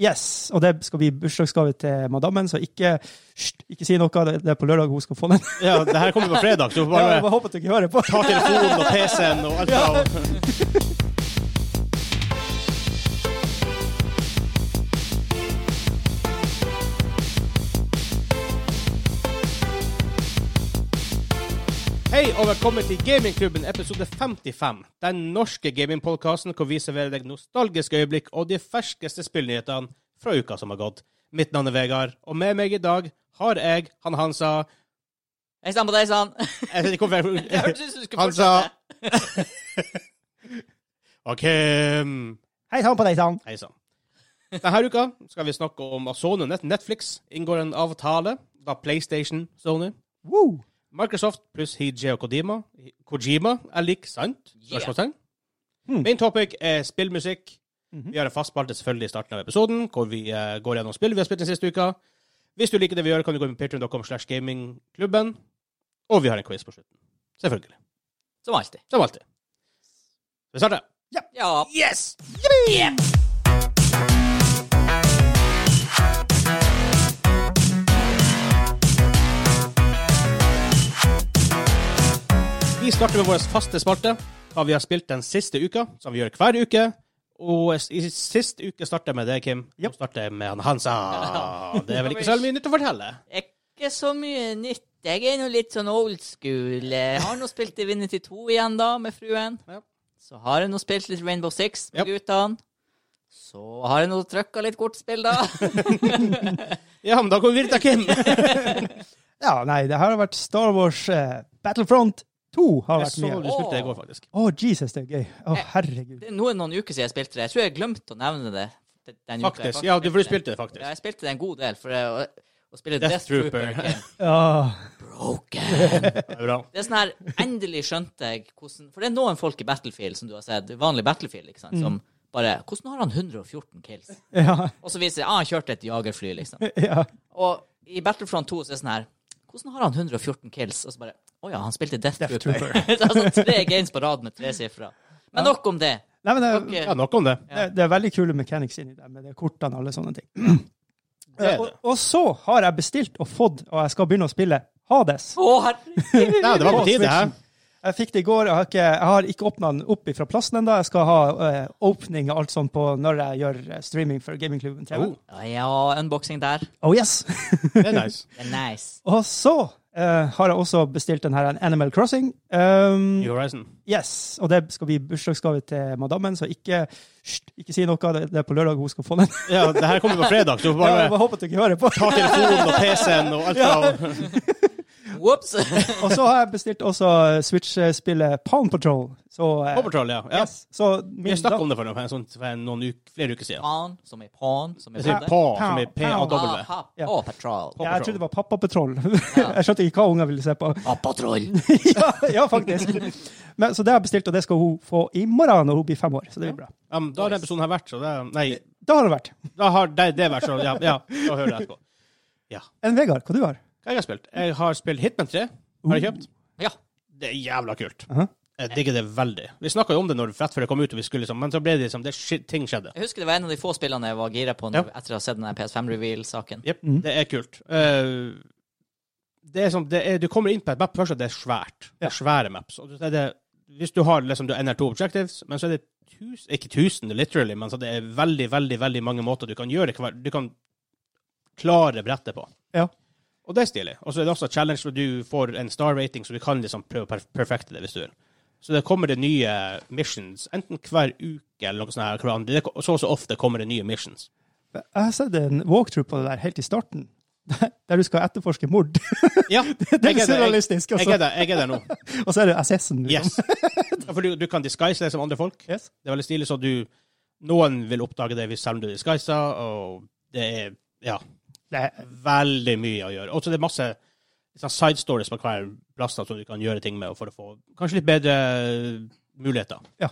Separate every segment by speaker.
Speaker 1: Yes, og det skal bli bursdagsgave til madammen, så ikke, hysj, ikke si noe. Det det er på lørdag hun skal få den.
Speaker 2: Ja, det her kommer på fredag, så du får
Speaker 1: Ja, jeg
Speaker 2: bare
Speaker 1: bare håper at du ikke hører på.
Speaker 2: ta telefonen og PC-en og alt fra Hei og velkommen til Gamingklubben episode 55. Den norske gamingpodkasten hvor vi serverer deg nostalgiske øyeblikk og de ferskeste spillnyhetene fra uka som har gått. Mitt navn er Vegard, og med meg i dag har jeg han Hansa
Speaker 3: Hei sann på deg, sann.
Speaker 2: Jeg vet ikke hvorfor jeg-
Speaker 3: Jeg hørte du skulle
Speaker 2: Han sa-
Speaker 3: fortsette.
Speaker 2: OK. Hei
Speaker 1: Hei sann på deg, sann.
Speaker 2: sann. Denne uka skal vi snakke om at Sony og Net- Netflix inngår en avtale da PlayStation, Sony,
Speaker 1: Woo!
Speaker 2: Microsoft pluss Hijeo Kojima, Kojima er lik sant?
Speaker 3: Yeah.
Speaker 2: Spørsmålstegn.
Speaker 1: Hmm.
Speaker 2: Min topic er spillmusikk.
Speaker 1: Mhm.
Speaker 2: Vi har en fast spalte selvfølgelig i starten av episoden, hvor vi eh, går gjennom spill vi har spilt den siste uka. Hvis du liker det vi gjør, kan du gå inn på patreon.com slash gamingklubben. Og vi har en quiz på slutten. Selvfølgelig.
Speaker 3: Som alltid.
Speaker 2: Som alltid. Vi starter.
Speaker 3: Ja.
Speaker 2: Yes! Vi starter med vår faste spalte, hva vi har spilt den siste uka, som vi gjør hver uke. Og s- i sist uke starter jeg med deg, Kim. Nå starter jeg med han Hansa. Det er vel ikke så veldig mye nytt å fortelle.
Speaker 3: Ikke så mye nytt. Jeg er nå litt sånn old school. Jeg har nå spilt Divinity 2 igjen, da, med fruen.
Speaker 2: Ja.
Speaker 3: Så har jeg nå spilt litt Rainbow Six
Speaker 2: Yep.
Speaker 3: med guttene. Så har jeg nå trykka litt kortspill, da.
Speaker 2: Ja, men da går vi videre til Kim.
Speaker 1: Ja, nei, det her har vært Star Wars eh, Battlefront 2 har
Speaker 2: Jeg
Speaker 1: vært
Speaker 2: så
Speaker 1: mye.
Speaker 2: du spilte det i går, faktisk.
Speaker 1: Å, Jesus, det er gøy. Å, herregud.
Speaker 3: Det er noen, noen uker siden jeg spilte det. Jeg tror jeg glemte å nevne det. den- Den uka jeg
Speaker 2: Faktisk. Ja, du- for du
Speaker 3: det.
Speaker 2: spilte det, faktisk.
Speaker 3: Ja, jeg spilte det en god del, for det, å, å spille
Speaker 2: Death
Speaker 3: Death,
Speaker 2: Trooper.
Speaker 3: Trooper Kim.
Speaker 1: Ja.
Speaker 3: Broken.
Speaker 2: Det er bra.
Speaker 3: Det er sånn her, Endelig skjønte jeg hvordan For det er noen folk i Battlefield som du har sett, vanlig Battlefield, ikke sant, som bare Hvordan har han 114 kills?
Speaker 1: Ja.
Speaker 3: Og så viser det ah, han kjørte et jagerfly, liksom.
Speaker 1: ja.
Speaker 3: Og i Battlefront 2 så er det sånn her Hvordan har han 114 kills? Og så bare Å ja, han spilte Death,
Speaker 1: Death
Speaker 3: Trooper. det er sånn tre games på rad med tre sifre. Men nok om det.
Speaker 1: Nei, men det,
Speaker 3: Dere-
Speaker 2: Ja, nok om det.
Speaker 1: det, det er veldig kule mechanics inni der, med de kortene og alle sånne ting.
Speaker 2: Det er
Speaker 1: Eh, og,
Speaker 2: det.
Speaker 1: og så har jeg bestilt og fått, og jeg skal begynne å spille Hades.
Speaker 3: Å, herregud!
Speaker 2: Nei, det var på tide, hæ?
Speaker 1: Jeg fikk det i går. Jeg har ikke, jeg har ikke åpna den opp fra plassen ennå. Jeg skal ha eh, åpning og alt sånt på når jeg gjør eh, streaming for Gamingklubben TV.
Speaker 2: Oh,
Speaker 1: Oh,
Speaker 3: Ja, unboxing der.
Speaker 1: yes!
Speaker 2: det er nice.
Speaker 3: Det er nice.
Speaker 1: og så eh, har jeg også bestilt den her en Animal Crossing. Um,
Speaker 2: New Horizon.
Speaker 1: yes, Og det skal bli bursdagsgave til madammen, så ikke, hysj, ikke si noe. Det det er på lørdag hun skal få den.
Speaker 2: Ja, det her kommer på fredag, så du får
Speaker 1: Ja, jeg
Speaker 2: bare
Speaker 1: bare håper at du ikke hører på.
Speaker 2: ta telefonen og PC-en og alt fra
Speaker 3: Ops!
Speaker 1: og så har jeg bestilt også eh, Switch-spillet Pound Patrol. Så, eh,
Speaker 2: Paw Patrol, ja. ja.
Speaker 1: yes. så
Speaker 2: Vi
Speaker 1: min
Speaker 2: snakket
Speaker 1: da-
Speaker 2: om det for noen, sånn, for noen uk- flere uker siden.
Speaker 3: Pawn, som er pawn, som
Speaker 2: Jeg
Speaker 3: er
Speaker 2: sier
Speaker 3: bonde.
Speaker 2: Ah, Paw, som er
Speaker 1: Paw,
Speaker 2: P-A-W.
Speaker 3: Aha,
Speaker 1: Ja.
Speaker 3: Paw Patrol.
Speaker 1: ja, jeg trodde det var Pappa Patrol.
Speaker 3: Ja.
Speaker 1: jeg skjønte ikke hva unger ville se på.
Speaker 3: Paw Patrol.
Speaker 1: ja, ja, faktisk. Men, så det har jeg bestilt, og det skal hun få i morgen når hun blir fem år. Så det blir bra.
Speaker 2: Ja, men da har den personen her vært, så det Nei,
Speaker 1: Da har det vært.
Speaker 2: da har det, det vært, så ja, ja, da hører jeg etterpå.
Speaker 1: Enn Vegard, hva du har?
Speaker 2: Hva har jeg spilt? Jeg har spilt Hitman 3. Har jeg kjøpt?
Speaker 3: Ja.
Speaker 2: Det er jævla kult.
Speaker 1: Aha.
Speaker 2: Jeg digger det veldig. Vi snakka jo om det når rett før det kom ut, og vi skulle liksom, men så ble det liksom det, shit- Ting skjedde.
Speaker 3: Jeg husker det var en av de få spillene jeg var gira på når, etter å ha sett den PS5-reveal-saken.
Speaker 2: Jepp,
Speaker 1: Mm.
Speaker 2: det er kult. Eh, det er som, det er, du kommer inn på et map først, og det er svært. Det er svære maps. Og så er det, hvis du har liksom, du har NR2 objectives, men så er det tusen, ikke tusen, literally, men så det er veldig, veldig veldig mange måter du kan gjøre hver, Du kan klare brettet på.
Speaker 1: Ja.
Speaker 2: Og det er stilig. Og så er det også challenge hvor du får en star rating, så du kan liksom prøve å per perfekte det hvis du vil. Så det kommer det nye missions, enten hver uke eller noe sånt. her, hver andre- det ko- Så og så ofte kommer det nye missions.
Speaker 1: Jeg har sett en walkthrough på det der helt i starten. Der du skal etterforske mord.
Speaker 2: Ja,
Speaker 1: Det er
Speaker 2: jeg er der, jeg-
Speaker 1: surrealistisk.
Speaker 2: Jeg er
Speaker 1: Altså.
Speaker 2: der, jeg er der nå.
Speaker 1: Og så er det Assessen. Liksom.
Speaker 2: Yes. Ja, For du, du kan disguise deg som andre folk.
Speaker 1: Yes.
Speaker 2: Det er veldig stilig, så du Noen vil oppdage det hvis selv om du disguiser, og det er ja,
Speaker 1: Det,
Speaker 2: veldig mye å gjøre. Og så det er masse liksom, side stories på hver plass da, som du kan gjøre ting med for å få kanskje litt bedre muligheter.
Speaker 1: Ja.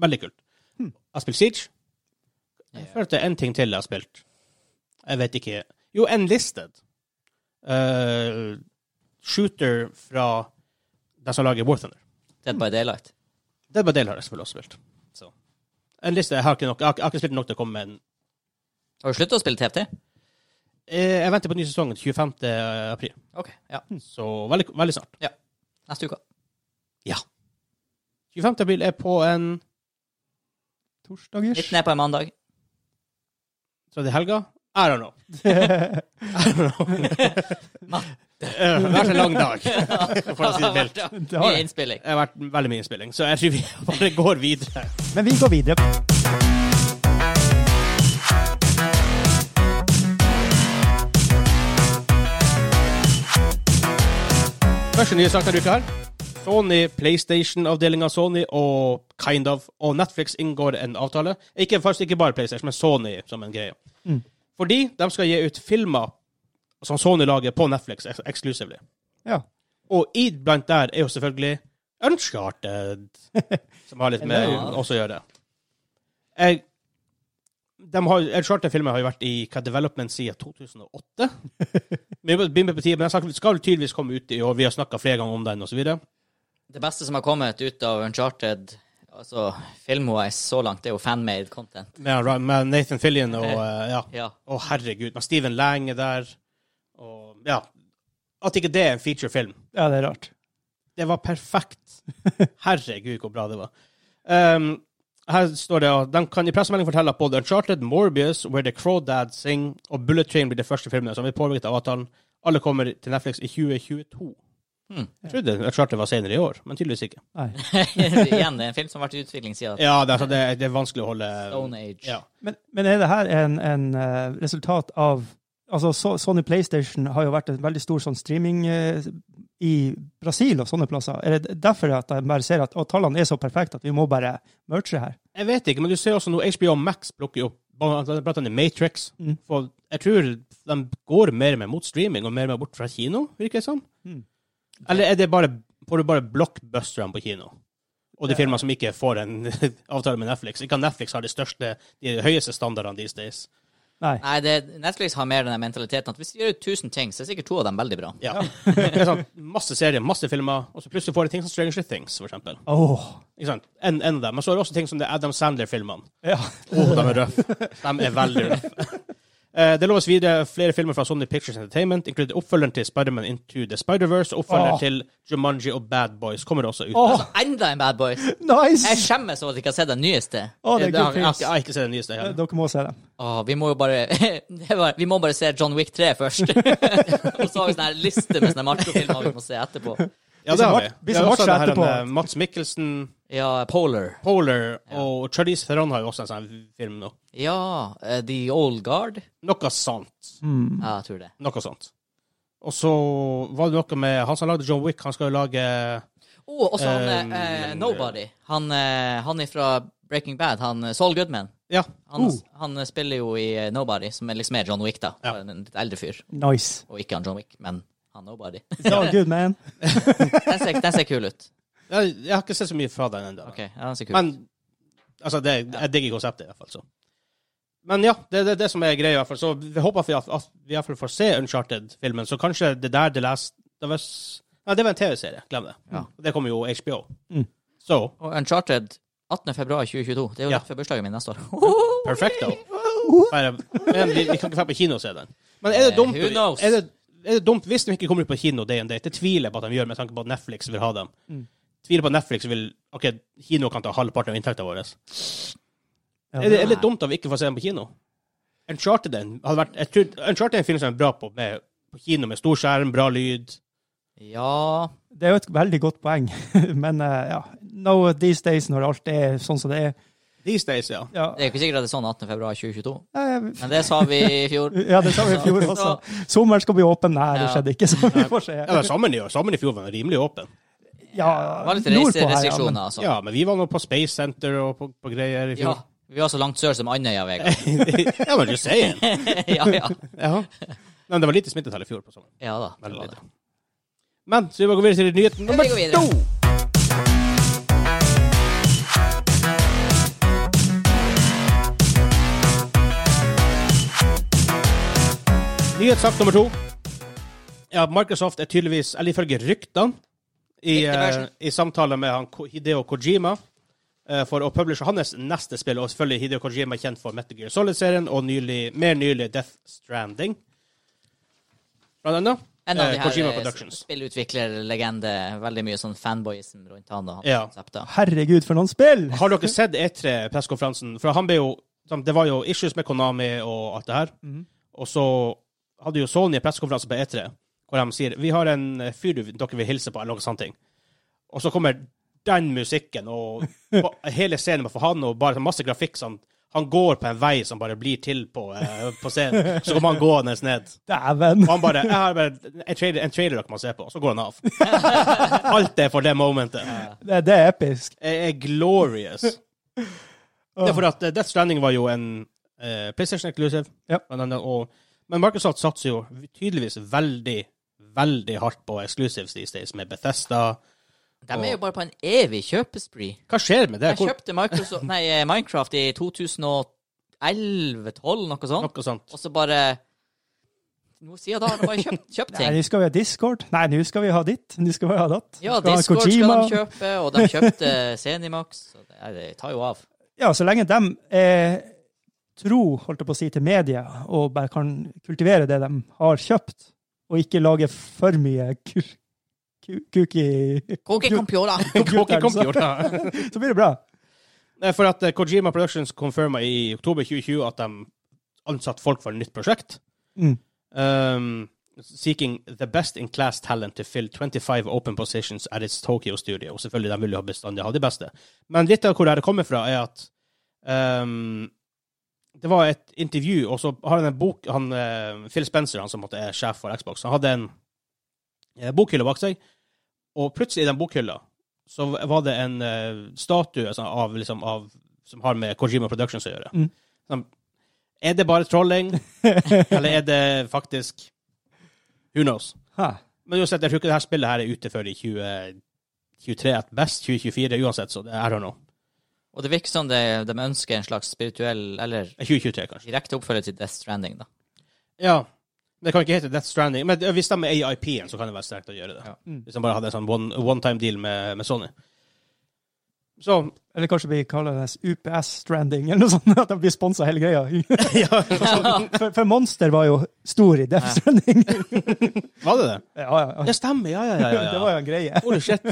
Speaker 2: Veldig kult. Jeg har spilt Siege. Jeg føler at det er en ting til jeg har spilt. Jeg vet ikke Jo, Enlisted. Eh, shooter fra den som lager War Thunder.
Speaker 3: Dead by Daylight.
Speaker 2: Dead by Daylight har jeg selvfølgelig også spilt. Så. En liste, jeg har ikke, nok, jeg har, ikke- jeg har ikke spilt nok til å komme med en
Speaker 3: Har du slutta å spille TFT?
Speaker 2: Eh, Jeg venter på ny sesong 25. april,
Speaker 3: OK. Ja.
Speaker 2: så veldig, veldig snart.
Speaker 3: Neste uke.
Speaker 2: 25. april er på en
Speaker 1: Torsdagers.
Speaker 3: Litt ned på en mandag.
Speaker 2: Så er det helga? I don't know. I don't know. Eh, Det har vært en lang dag, for å si det mildt.
Speaker 3: Ja,
Speaker 1: Det har
Speaker 3: Mye
Speaker 1: jeg.
Speaker 3: innspilling.
Speaker 2: Det har vært veldig mye innspilling, så jeg tror vi bare går videre.
Speaker 1: Men vi går videre.
Speaker 2: Første nye sak denne uka her. Sony, PlayStation-avdelinga Sony og Kind of og Netflix inngår en avtale. Ikke, faktisk ikke bare PlayStation, men Sony som en greie.
Speaker 1: Mm.
Speaker 2: Fordi de skal gi ut filmer som Sony lager på Netflix eks exclusively.
Speaker 1: Ja.
Speaker 2: Og i blant der er jo selvfølgelig Uncharted, som har litt med
Speaker 3: Ja.
Speaker 2: oss å gjøre. Jeg, de har, Uncharted-filmen har jo vært i hva, development siden 2008. Vi begynner på tide, men den skal- skal tydeligvis komme ut i år. Vi har snakka flere ganger om den osv.
Speaker 3: Det beste som har kommet ut av Uncharted, altså film-wise så langt, det er jo fanmade content.
Speaker 2: Med, Ra- med Nathan Fillion og eh, ja.
Speaker 3: Ja.
Speaker 2: Å, herregud. Med Steven Lang er der. Og ja. At ikke det er en featurefilm.
Speaker 1: ja, det er rart.
Speaker 2: Det var perfekt. Herregud, hvor bra det var. Ehm, her står det at de kan i pressemelding fortelle at både Uncharted, Morbius, Where the Crawdad Sing og Bullet Train blir de første filmene som blir påvirket av avtalen. Alle kommer til Netflix i 2022.
Speaker 3: Hmm.
Speaker 2: Jeg trodde Uncharted var senere i år, men tydeligvis ikke.
Speaker 1: Nei.
Speaker 3: Igjen, det er en film som har vært i utvikling siden
Speaker 2: Ja, det, er altså, det, er- det er vanskelig å holde
Speaker 3: Stone Age.
Speaker 2: Ja.
Speaker 1: Men, men er det her en, en eh, resultat av Altså, so- Sony PlayStation har jo vært en veldig stor sånn streaming eh, i Brasil og sånne plasser. Er det derfor at jeg bare ser at å, tallene er så perfekte at vi må bare merge her?
Speaker 2: Jeg vet ikke, men du ser også nå HBO Max plukker jo opp blant annet- blant annet Matrix.
Speaker 1: Mm.
Speaker 2: For jeg tror de går mer med mot streaming og mer med bort fra kino, virker det som.
Speaker 1: Mm.
Speaker 2: Eller er det bare, får du bare blockbusterne på kino? Og de
Speaker 1: Ja.
Speaker 2: filmer som ikke får en avtale med Netflix. Ikke at Netflix har de største, de høyeste standardene these days.
Speaker 1: Nei.
Speaker 3: Nei, det, Netflix har mer den der mentaliteten at hvis vi gjør ut 1000 ting, så er sikkert to av dem veldig bra.
Speaker 2: Ja. det er sånn, masse serier, masse filmer, og så plutselig får de ting som Stranger Things, for eksempel.
Speaker 1: Åh.
Speaker 2: Ikke sant? En, en av dem. Men så er det også ting som det er Adam Sandler-filmene.
Speaker 1: Ja.
Speaker 2: Åh, de er røffe. De er veldig røffe. Eh, Det loves videre flere filmer fra Sony Pictures Entertainment, inkludert oppfølgeren til Spiderman Into the Spider-Verse og oppfølgeren
Speaker 1: Åh.
Speaker 2: til Jumanji og Bad Boys kommer også ut.
Speaker 1: Åh,
Speaker 3: Altså, enda en Bad Boys. Jeg
Speaker 1: nice!
Speaker 3: skjemmes over at jeg ikke har sett den nyeste.
Speaker 1: Åh, det
Speaker 2: Jeg
Speaker 1: er good
Speaker 2: har, jeg, har,
Speaker 1: things.
Speaker 2: jeg har ikke sett den nyeste.
Speaker 1: Eh,
Speaker 2: Her.
Speaker 1: Dere må se dem.
Speaker 3: Åh, vi må jo bare, det er bare Vi må bare se John Wick 3 først. Og så har vi sånn her liste med sånne Marco-filmer vi må se etterpå.
Speaker 2: Ja, det har vi.
Speaker 1: Blir så
Speaker 2: Vi har
Speaker 1: matcha
Speaker 2: også det her
Speaker 1: etterpå.
Speaker 2: med Mats Mikkelsen,
Speaker 3: Ja, Polar.
Speaker 2: Polar og Charlize Theron har jo også en sånn film nå.
Speaker 3: Ja, eh, The Old Guard.
Speaker 2: Noe sant.
Speaker 1: Mm.
Speaker 3: Ja, jeg tror det.
Speaker 2: Noe sant. Og så var det noe med Han som lagde John Wick, han skal jo lage
Speaker 3: Oh, også han
Speaker 2: Um,
Speaker 3: eh, eh, Nobody. Han, eh, han er fra Breaking Bad. Han eh, Saul Goodman.
Speaker 2: Ja.
Speaker 3: Han,
Speaker 1: Oh.
Speaker 3: han eh, spiller jo i eh, Nobody, som er liksom er John Wick, da.
Speaker 2: Ja.
Speaker 3: En litt eldre fyr.
Speaker 1: Nice.
Speaker 3: Og ikke han John Wick, men han Nobody.
Speaker 1: It's all good, man.
Speaker 3: Den ser, den ser kul ut.
Speaker 2: Jeg, jeg har ikke sett så mye fra den ennå.
Speaker 3: Ok, ja, den ser kul ut.
Speaker 2: Men altså, det, jeg digger konseptet, i hvert fall. Så. Men ja, det er det, det som er greia, i hvert fall. Så vi håper vi at, at vi i hvert fall får se Uncharted-filmen. Så kanskje det der det leste det var, s- Nei, det var en TV-serie. Glem det.
Speaker 3: Ja.
Speaker 2: Det kommer jo HBO.
Speaker 1: Mm.
Speaker 2: Så
Speaker 3: Og Uncharted 18. februar 2022. Det er jo
Speaker 2: Ja.
Speaker 3: rett før bursdagen min neste år.
Speaker 2: perfecto. Bare, men vi, vi kan ikke dra på kino og se den. Men er det
Speaker 3: Eh,
Speaker 2: dumt,
Speaker 3: who knows?
Speaker 2: er det, er det dumt hvis de ikke kommer ut på kino day and day? Det tviler jeg på at de gjør, med tanke på at Netflix vil ha dem.
Speaker 1: Mm.
Speaker 2: Tviler på at Netflix vil OK, kino kan ta halvparten av inntekten vår.
Speaker 1: Ja.
Speaker 2: Er det, er det dumt at vi ikke får se den på kino? Uncharted, den hadde vært, jeg tror, Uncharted er en film som er bra på, med, på kino, med stor skjerm, bra lyd.
Speaker 3: Ja
Speaker 1: Det er jo et veldig godt poeng, men eh, ja. No these days når alt er sånn som det er.
Speaker 2: These days, ja.
Speaker 1: Ja,
Speaker 3: Det er jo ikke sikkert at det er sånn 18. februar 2022,
Speaker 1: eh,
Speaker 3: men det sa vi i fjor.
Speaker 1: ja det sa vi i fjor også. Sommeren skal bli åpen. Nei, det
Speaker 3: Ja.
Speaker 1: skjedde ikke, så vi får se.
Speaker 2: ja men sommeren, i år- sommeren i fjor var den rimelig åpen.
Speaker 1: Ja,
Speaker 3: Det var litt
Speaker 1: nordpå her, ja, men-
Speaker 3: reiserestriksjoner, altså.
Speaker 2: Ja, men vi var nå på Space Center og på, på greier i
Speaker 3: Ja.
Speaker 2: fjor.
Speaker 3: Vi var så langt sør som Andøya, Vegard.
Speaker 2: ja, men du sier det.
Speaker 3: ja, ja.
Speaker 2: Ja. Nei, men det var lite smittetall i fjor på sommeren.
Speaker 3: ja da. Det
Speaker 2: Veldig
Speaker 3: var det.
Speaker 2: lite. Men så vi må gå videre til nyheten nummer
Speaker 3: Vi går videre.
Speaker 2: to. Nyhetssak nummer to. Ja, Microsoft er tydeligvis, eller ifølge ryktene, i,
Speaker 3: Riktig
Speaker 2: eh,
Speaker 3: version.
Speaker 2: i samtale med han Ko- Hideo Kojima, eh, for å publishe hans neste spill, og selvfølgelig Hideo Kojima er kjent for Metal Gear Solid-serien og nylig, mer nylig Death Stranding. Blant annet.
Speaker 3: En av
Speaker 2: eh,
Speaker 3: de
Speaker 2: Kojima
Speaker 3: her eh,
Speaker 2: Productions.
Speaker 3: spillutviklerlegende, veldig mye sånn fanboyism rundt han og hans
Speaker 2: Ja.
Speaker 3: konsepter.
Speaker 1: Herregud, for noen spill!
Speaker 2: Har dere sett E3-pressekonferansen? For han ble jo som- Det var jo issues med Konami og alt det her.
Speaker 1: Mhm.
Speaker 2: Og så hadde jo Sony en pressekonferanse på E3, hvor de sier Vi har en eh, fyr du- dere vil hilse på, eller noe sånt. ting." Og så kommer den musikken, og ba- hele scenen med for han, og bare sånn masse grafikk sånn Han går på en vei som bare blir til på, eh, på scenen. Så kommer han gående ned.
Speaker 1: Dæven!
Speaker 2: Og han bare Jeg har bare en trailer, en trailer dere må se på. Og så går han av. Alt er for det momentet.
Speaker 1: Det, det er episk.
Speaker 2: Jeg er glorious. Det er fordi at eh, Death Stranding var jo en eh, PlayStation Exclusive.
Speaker 1: Ja.
Speaker 2: blant annet, og, men Microsoft satser jo tydeligvis veldig, veldig hardt på exclusives these days, med Bethesda.
Speaker 3: De er jo bare på en evig kjøpespree.
Speaker 2: Hva skjer med det?
Speaker 3: Jeg
Speaker 2: Hvor,
Speaker 3: kjøpte Microsoft, nei, eh, Minecraft i 2011-2012, noe sånt,
Speaker 2: noe sånt.
Speaker 3: og så bare Nå siden da har de bare kjøpt, kjøpt
Speaker 1: Nei,
Speaker 3: ting.
Speaker 1: nå skal vi ha Discord. Nei, nå skal vi ha ditt. Nå skal vi ha datt.
Speaker 3: Ja,
Speaker 1: Vi ha
Speaker 3: Discord skal
Speaker 1: Kojima.
Speaker 3: de kjøpe, og de kjøpte Zenimax. Så det, nei, det tar jo av.
Speaker 1: Ja, så lenge de er tro, holdt jeg på å si, til media, og bare kan kultivere det de har kjøpt, og ikke lage for mye ku- ku- kuki,
Speaker 3: Koke Campiola!
Speaker 2: Kåke computer.
Speaker 1: så blir det bra.
Speaker 2: Nei, For at eh, Kojima Productions confirma i oktober 2020 at de ansatte folk for et nytt prosjekt.
Speaker 1: Mm.
Speaker 2: Um, seeking the best in class talent to fill 25 open positions at its Tokyo studio. Og selvfølgelig, de vil jo bestandig ha de beste. Men litt av hvor det kommer fra, er at um, det var et intervju, og så har han en bok han, eh, Phil Spencer, han som måtte er sjef for Xbox, han hadde en eh, bokhylle bak seg, og plutselig i den bokhylla så var det en eh, statue sånn, av, liksom, av, som har med Kojima Productions å gjøre.
Speaker 1: Mm.
Speaker 2: Sånn, er det bare trolling, eller er det faktisk Who knows?
Speaker 1: Ha.
Speaker 2: Men uansett, jeg tror ikke det her spillet her er ute før i 2023 at best, 2024 uansett, så det er I don't know.
Speaker 3: Og det virker som det, de ønsker en slags spirituell, eller
Speaker 2: 2023, Eh, kanskje.
Speaker 3: direkte oppfølger til Death Stranding, da.
Speaker 2: Ja. Det kan ikke hete Death Stranding, men eh, hvis de er AIP-en, så kan det være sterkt å gjøre det.
Speaker 3: Ja.
Speaker 1: Mm.
Speaker 2: Hvis de bare hadde en sånn one, one time deal med, med Sony. Så
Speaker 1: Eller kanskje vi kaller det UPS-stranding, eller noe sånt, at de blir sponsa hele greia.
Speaker 2: Ja,
Speaker 1: For, for Monster var jo stor i Death Stranding.
Speaker 2: var det det?
Speaker 1: Ja, ja, ja.
Speaker 2: Det stemmer, ja, ja, ja. ja, ja.
Speaker 1: Det var jo en greie.
Speaker 2: Holy shit.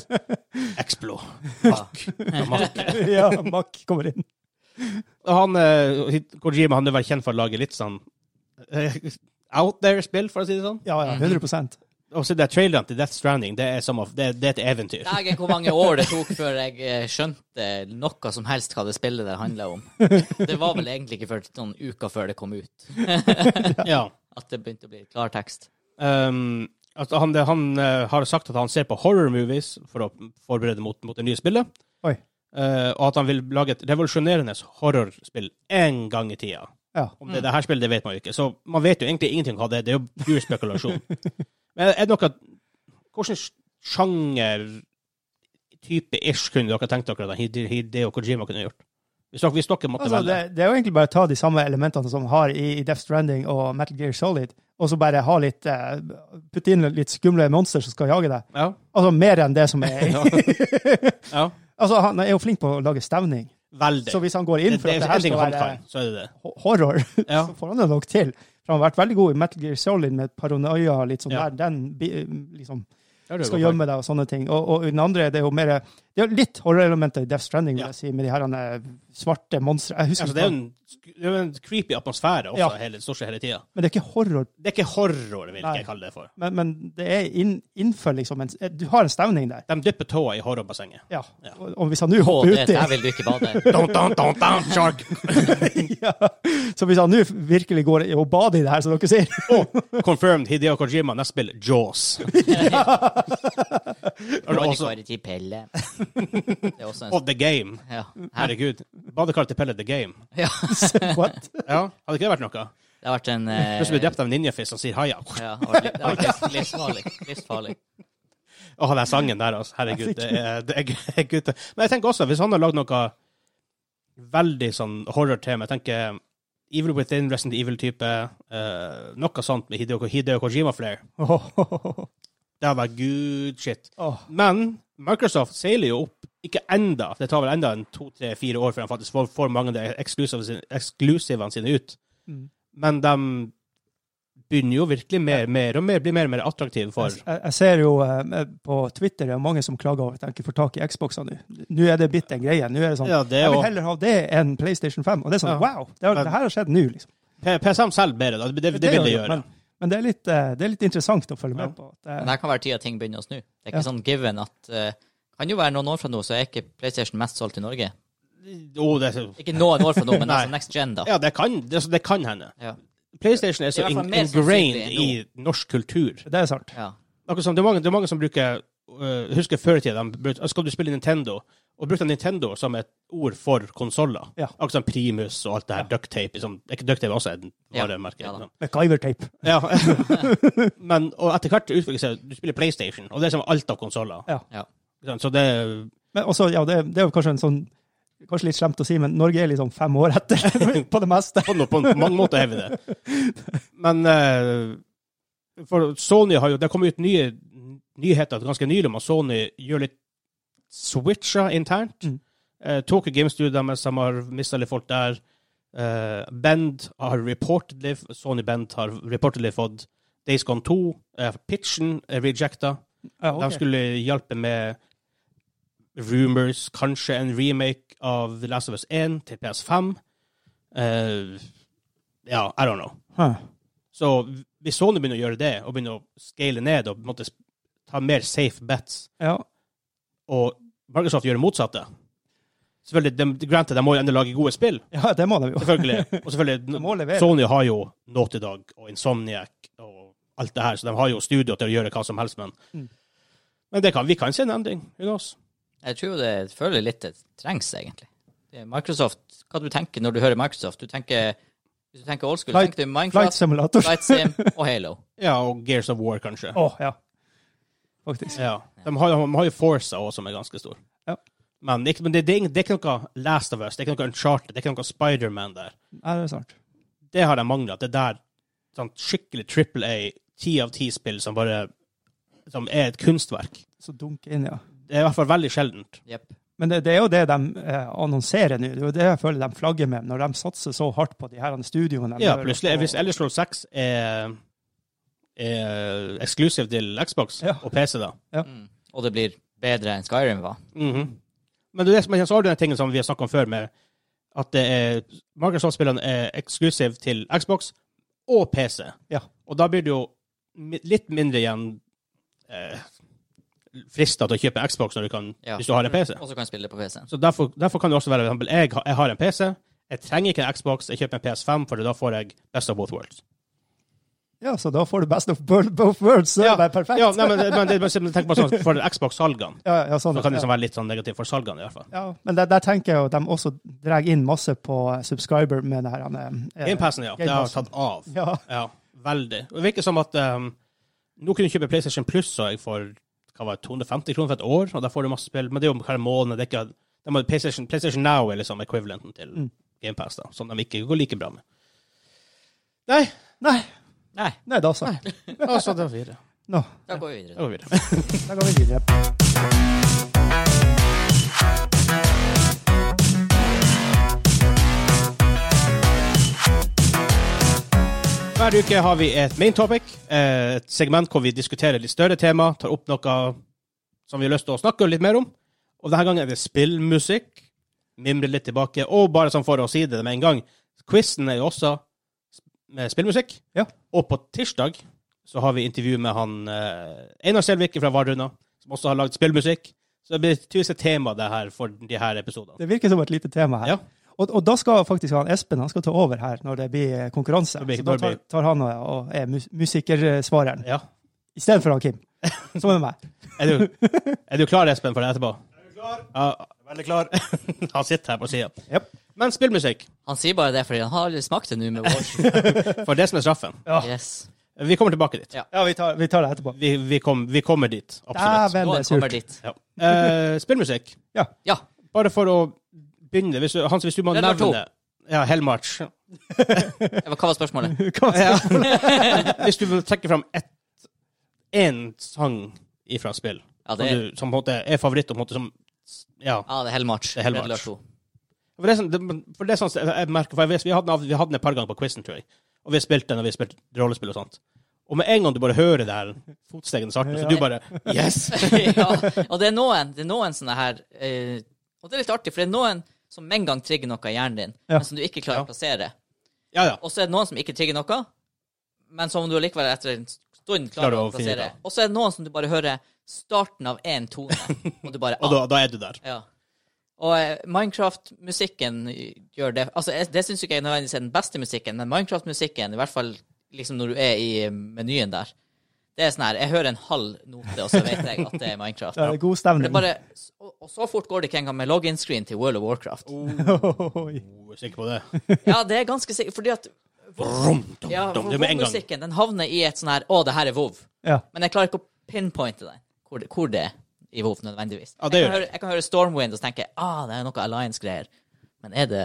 Speaker 2: Explo. Fuck. Fuck.
Speaker 1: Ja, Mack kommer inn.
Speaker 2: Han, eh, Kojima han er vel kjent for å lage litt sånn eh, out there-spill, for å si det sånn.
Speaker 1: Ja, ja, 100
Speaker 2: Og så det traileren til Death Stranding, det er, som of, det, det er et eventyr.
Speaker 3: Dagen hvor mange år det tok før jeg eh, skjønte noe som helst hva det spillet der handla om. Det var vel egentlig ikke før noen uker før det kom ut,
Speaker 2: Ja.
Speaker 3: at det begynte å bli klartekst.
Speaker 2: Um, altså, han det, han eh, har sagt at han ser på horror-movies for å forberede mot, mot det nye spillet.
Speaker 1: Oi.
Speaker 2: Eh, og at han vil lage et revolusjonerende horrorspill én gang i tida.
Speaker 1: Ja.
Speaker 2: Om det er det her spillet, det vet man jo ikke. Så man vet jo egentlig ingenting om hva det er. Det er jo pur spekulasjon. Men er det noe Hvilken sjanger type ish kunne dere tenkt dere at Hide- Hideo Kojima kunne gjort? Hvis dere, hvis dere måtte
Speaker 1: Altså, det,
Speaker 2: velge.
Speaker 1: det er jo egentlig bare å ta de samme elementene som har i, i Death Stranding og Metal Gear Solid, og så bare ha litt eh, putte inn litt skumle monster som skal jage deg.
Speaker 2: Ja.
Speaker 1: Altså mer enn det som er
Speaker 2: ja.
Speaker 1: Altså, han er jo flink på å lage stemning,
Speaker 2: Veldig.
Speaker 1: så hvis han går
Speaker 2: det,
Speaker 1: inn for
Speaker 2: det
Speaker 1: at
Speaker 2: er
Speaker 1: det her
Speaker 2: en ting
Speaker 1: skal
Speaker 2: han
Speaker 1: være
Speaker 2: kan, så er det det.
Speaker 1: ho- horror,
Speaker 2: Ja.
Speaker 1: så får han det nok til. For han har vært veldig god i Metal Gear Solid med paranoia, litt sånn
Speaker 2: Ja.
Speaker 1: der, den bi- liksom
Speaker 2: Det er
Speaker 1: skal
Speaker 2: det jo godt poeng.
Speaker 1: gjemme deg og sånne ting. Og, og i den andre, det er jo mer Det er jo litt horrorelementer i Death Stranding, vil
Speaker 2: Ja.
Speaker 1: jeg si, med de her eh, svarte monstre. Jeg husker ikke
Speaker 2: Altså, det, er jo
Speaker 1: hva-
Speaker 2: en, sk- det er jo en creepy atmosfære også,
Speaker 1: Ja.
Speaker 2: hele, stort sett hele tida.
Speaker 1: Men det er ikke horror
Speaker 2: Det er ikke horror, vil
Speaker 1: Nei.
Speaker 2: jeg kalle det for.
Speaker 1: Men, men det er inn, innenfor liksom en, Du har en stemning der.
Speaker 2: De dypper tåa i horrorbassenget.
Speaker 1: Ja.
Speaker 2: Ja.
Speaker 1: Og, og hvis han nå
Speaker 3: Å,
Speaker 1: hopper
Speaker 3: det,
Speaker 1: uti
Speaker 3: der vil du ikke bade.
Speaker 2: Don't, don't, don't, don't, shark!
Speaker 1: ja. Så hvis han nå virkelig går i- og bader i det her, som dere sier
Speaker 2: Confirmed Hideo Kojima, neste spill, Jaws. Og også
Speaker 3: Badekaret til Pelle. Det er også en
Speaker 2: Of The Game.
Speaker 3: ja. Her,
Speaker 2: Herregud. Badekar til Pelle The Game.
Speaker 1: What?
Speaker 2: Ja, Hadde ikke det vært noe?
Speaker 3: Det har vært en eh,
Speaker 2: Plutselig blir drept av en ninjafisk som sier haia.
Speaker 3: Ja, det har vært litt- det har vært litt- livsfarlig. livsfarlig.
Speaker 2: Åh, den sangen der, altså. Herregud. Det er, det er, det er gutte. Men jeg tenker også, hvis han har lagd noe veldig sånn horror-tema, jeg tenker Evil Within, Resident Evil-type, eh, noe sånt med Hideo, Hideo Kojima-flair,
Speaker 1: Åh, åh, åh, åh.
Speaker 2: det hadde vært good shit.
Speaker 1: Åh.
Speaker 2: Men Microsoft seiler jo opp Ikke enda, for det tar vel enda en to-tre-fire år før de faktisk får, får mange av de eksklusivene sine- eksklusivene sine ut.
Speaker 1: Mm.
Speaker 2: Men de begynner jo virkelig mer, mer og mer, blir mer og mer attraktive for
Speaker 1: Jeg, jeg ser jo eh, på Twitter det er mange som klager over at de ikke får tak i Xboxer nå. Nå er det blitt en greie. Nå er det sånn
Speaker 2: Ja, det
Speaker 1: Jeg vil
Speaker 2: og
Speaker 1: heller ha det enn PlayStation 5. Og det er sånn,
Speaker 2: Ja.
Speaker 1: wow! Det, har,
Speaker 2: Men-
Speaker 1: det her har skjedd nå, liksom.
Speaker 2: PSM selger bedre, da. Det, det, det vil de gjøre.
Speaker 1: Men, men det, er litt, eh, det er litt interessant å følge med
Speaker 2: Ja.
Speaker 1: på. At,
Speaker 3: Men
Speaker 1: eh,
Speaker 3: det her kan være tida ting begynner å snu. Det er ikke
Speaker 1: Ja.
Speaker 3: sånn given at eh, kan jo være noen år fra nå, så er ikke PlayStation mest solgt i Norge.
Speaker 2: Jo, det, er-
Speaker 3: Ikke noen år fra nå, men
Speaker 2: Nei.
Speaker 3: altså next gen, da.
Speaker 2: ja, det kan, det, det kan hende.
Speaker 3: Ja.
Speaker 2: PlayStation er
Speaker 3: Det
Speaker 2: så
Speaker 3: er i hvert fall
Speaker 2: in-
Speaker 3: mer
Speaker 2: ingrained
Speaker 3: sannsynlig
Speaker 2: i norsk kultur.
Speaker 1: eh, det er sant.
Speaker 3: Ja.
Speaker 2: Akkurat som, det, er mange, det er mange som bruker øh, Husker før i tida de brukte- altså Skal du spille Nintendo? Og brukte Nintendo som et ord for konsoller.
Speaker 1: Ja.
Speaker 2: Akkurat som Primus og alt det her. Ducktape. Liksom. Er Ikke ducktape også et
Speaker 3: Ja,
Speaker 2: varemerke.
Speaker 3: ja da.
Speaker 2: liksom.
Speaker 1: MacGyver-tape.
Speaker 2: Ja. Men og etter hvert utvikler det seg Du spiller PlayStation, og det er som alt av konsoller.
Speaker 1: Ja.
Speaker 3: Ja.
Speaker 2: Så det
Speaker 1: Men også, ja, det, det er jo kanskje en sånn Kanskje litt slemt å si, men Norge er liksom fem år etter på det meste.
Speaker 2: på, no- på mange måter er vi det. Men eh, for Sony har jo Det kommer ut nye nyheter ganske nylig om at Sony gjør litt switcher internt.
Speaker 1: Mm.
Speaker 2: Eh, Tokyo Game Studio deres de har mista litt folk der. Eh, Bend har reportedly Sony Bend har reportedly fått Days Gone 2. eh, pitchen er rejecta.
Speaker 1: Ja, ok.
Speaker 2: De skulle hjelpe med rumors, kanskje en remake av The Last of Us 1 til PS5. Eh, ja, I don't know.
Speaker 1: Huh.
Speaker 2: Så hvis Sony begynner å gjøre det, og begynner å scale ned og på en måte sp- ta mer safe bets,
Speaker 1: Ja.
Speaker 2: og Microsoft gjør det motsatte Selvfølgelig, de, granted, de må jo enda lage gode spill,
Speaker 1: ja, det må de jo.
Speaker 2: selvfølgelig. Og
Speaker 1: De
Speaker 2: selvfølgelig,
Speaker 1: må levere.
Speaker 2: Sony har jo Naughty Dog og Insomniac og alt det her, så de har jo studio til å gjøre hva som helst, men
Speaker 1: Mm.
Speaker 2: Men det kan, vi kan se en endring. Who knows?
Speaker 3: Jeg tror jo det jeg føler litt det trengs, egentlig. Det er Microsoft, hva du tenker når du hører Microsoft? Du tenker, hvis du tenker old school,
Speaker 1: Flight-
Speaker 3: tenker du
Speaker 1: Flight
Speaker 3: Minecraft,
Speaker 1: Simulator. Å,
Speaker 3: Flight Sim og Halo.
Speaker 2: Ja, og Gears of War, kanskje.
Speaker 1: ja. Faktisk.
Speaker 2: Ja. De, har, de har jo Forza også, som er ganske stor.
Speaker 1: Ja.
Speaker 2: Men, ikke, men det, det, er ing- det er ikke noe Last of Us, det er ikke noe Uncharted, det er ikke noe Spiderman der.
Speaker 1: Ja, det er sant.
Speaker 2: Det har de mangla. Det der sånn skikkelig trippel A, ti av ti-spill som bare som er et kunstverk.
Speaker 1: Så dunk inn, ja.
Speaker 2: Det er i hvert fall veldig sjeldent.
Speaker 3: Jep.
Speaker 1: Men det, det er jo det de eh, annonserer nå. Det er jo det jeg føler de flagger med, når de satser så hardt på de her studioene. de
Speaker 2: Ja,
Speaker 1: gjør,
Speaker 2: plutselig.
Speaker 1: og-
Speaker 2: Hvis Ellis Roll 6 er, er eksklusiv til Xbox
Speaker 1: Ja.
Speaker 2: og PC, da
Speaker 1: Ja.
Speaker 3: Mm. Og det blir bedre enn Skyrim var.
Speaker 2: Mhm. Men det er det som er så har du den tingen som vi har snakket om før, med at det er Microsoft-spillene er eksklusiv til Xbox og PC.
Speaker 1: Ja.
Speaker 2: Og da blir det jo mi- litt mindre igjen eh, frista til å kjøpe en Xbox når du kan,
Speaker 3: Ja.
Speaker 2: hvis du har en PC.
Speaker 3: Og så kan du spille det på PC-en.
Speaker 2: Så derfor, derfor kan det også være for eksempel, jeg, har- jeg har en PC, jeg trenger ikke en Xbox, jeg kjøper en PS5, for da får jeg best of both worlds.
Speaker 1: Ja, så da får du best of bo- both worlds. Så
Speaker 2: Ja.
Speaker 1: er det bare perfekt.
Speaker 2: Ja,
Speaker 1: Ja,
Speaker 2: nei, men, men, det- men tenk på sånn, for Xbox-salgene,
Speaker 1: ja, sånn.
Speaker 2: da kan det
Speaker 1: ja.
Speaker 2: liksom være litt sånn negativt for salgene i hvert fall.
Speaker 1: ja, men der, der tenker jeg jo at de også drar inn masse på eh, subscriber med det her eh,
Speaker 2: Gamepassen, ja. Det har
Speaker 1: Gamepassen.
Speaker 2: tatt av.
Speaker 1: Ja,
Speaker 2: Ja, veldig. Og Det virker som at ehm, nå kunne du kjøpe PlayStation Plus, så jeg får hva var det, 250 kroner for et år, og da får du masse spill. Men det er jo hver måned. Det er ikke, de har PlayStation, PlayStation Now er liksom equivalenten til
Speaker 1: Mm.
Speaker 2: Game GamePass, da, som de ikke går like bra med. Nei,
Speaker 3: Nei,
Speaker 1: nei da så.
Speaker 2: altså, det var videre.
Speaker 1: Nå,
Speaker 3: da går vi videre.
Speaker 2: Det var videre.
Speaker 1: da går vi videre.
Speaker 2: Hver uke har vi et main topic, eh, et segment hvor vi diskuterer litt større tema, tar opp noe som vi har lyst til å snakke litt mer om. Og denne gangen er det spillmusikk, mimre litt tilbake, og bare sånn for å si det med en gang, quizen er jo også med spillmusikk.
Speaker 1: Ja.
Speaker 2: Og på tirsdag så har vi intervju med han eh, Einar Selvik fra Vardruna, som også har lagd spillmusikk. Så det blir tydeligvis et tema det her for de her episodene.
Speaker 1: Det virker som et lite tema her.
Speaker 2: Ja.
Speaker 1: Og, og da skal faktisk han Espen han skal ta over her når det blir eh, konkurranse.
Speaker 2: Det blir-
Speaker 1: så da
Speaker 2: det blir-
Speaker 1: tar, tar han og, og er mus eh, musikersvareren,
Speaker 2: Ja.
Speaker 1: istedenfor han Kim. Som er meg.
Speaker 2: Er du, er du klar, Espen, for det etterpå? Er du klar? Ja. Veldig klar. Han sitter her på sida.
Speaker 1: Jep.
Speaker 2: Men spillmusikk,
Speaker 3: Han sier bare det fordi han har aldri smakt det nå med vår.
Speaker 2: for det som er straffen.
Speaker 1: Ja.
Speaker 3: Yes.
Speaker 2: Vi kommer tilbake dit.
Speaker 3: Ja.
Speaker 1: Ja, vi tar, vi tar det etterpå.
Speaker 2: Vi, vi, kom, vi kommer dit, absolutt.
Speaker 1: Dæven,
Speaker 3: Nå
Speaker 1: det er
Speaker 3: kommer
Speaker 1: surt.
Speaker 3: dit.
Speaker 2: Ja. Eh, spillmusikk,
Speaker 3: Ja.
Speaker 2: bare for å begynne hvis du, Hans, hvis du må
Speaker 3: Red Alert
Speaker 2: nevne Ja, Hellmarch.
Speaker 3: det var- Hva var spørsmålet?
Speaker 1: Hva-
Speaker 2: Ja. hvis du vil trekke fram ett- én sang ifra spill
Speaker 3: Ja,
Speaker 2: som,
Speaker 3: det er
Speaker 2: du, som på en måte er favoritt, og på en måte som Ja.
Speaker 3: Ja, det er hellmatch.
Speaker 2: Det er hellmatch.
Speaker 3: Red Alert 2.
Speaker 2: For det er sånn, det- for det er sånn jeg merker, for jeg vet, vi, hadde, den av- vi hadde den et par ganger på quizen, tror jeg. Og vi har spilt den, og vi har spilt rollespill og sånt. Og med en gang du bare hører det her fotstegene sakte, så
Speaker 1: Ja.
Speaker 2: du bare Yes!
Speaker 3: ja, og det er noen, det er noen sånne her eh, Og det er litt artig, for det er noen som med en gang trigger noe i hjernen din,
Speaker 1: Ja.
Speaker 3: men som du ikke klarer
Speaker 2: Ja.
Speaker 3: å plassere.
Speaker 2: Ja, ja.
Speaker 3: Og så er det noen som ikke trigger noe, men som du likevel etter en stund klarer
Speaker 2: Klarer å
Speaker 3: å
Speaker 2: finne ut
Speaker 3: plassere.
Speaker 2: av.
Speaker 3: Og så er det noen som du bare hører starten av én tone, og du bare
Speaker 2: Og da, da er du der.
Speaker 3: Ja. Og eh, Minecraft-musikken gjør det Altså, jeg, det syns ikke jeg nødvendigvis er den beste musikken, men Minecraft-musikken, i hvert fall liksom når du er i eh, menyen der, det er sånn her Jeg hører en halv note, og så vet jeg at det er Minecraft.
Speaker 1: Det er god
Speaker 3: Det
Speaker 1: stemning.
Speaker 3: er bare, og, og så fort går det ikke engang med login-screen til World of Warcraft.
Speaker 1: Oi.
Speaker 2: Oh, sikker på det.
Speaker 3: Ja, det er ganske sikkert, fordi at
Speaker 2: Brum, dum,
Speaker 3: ja,
Speaker 2: dum. Det er med en gang.
Speaker 3: WoW-musikken den havner i et sånn her Å, det her er WoW.
Speaker 1: Ja.
Speaker 3: Men jeg klarer ikke å pinpointe det, hvor det, hvor det er i WoW nødvendigvis.
Speaker 2: Ja, det
Speaker 3: jeg,
Speaker 2: gjør
Speaker 3: kan høre, jeg kan høre Stormwind og så tenke ah, det er noe Alliance-greier. Men er det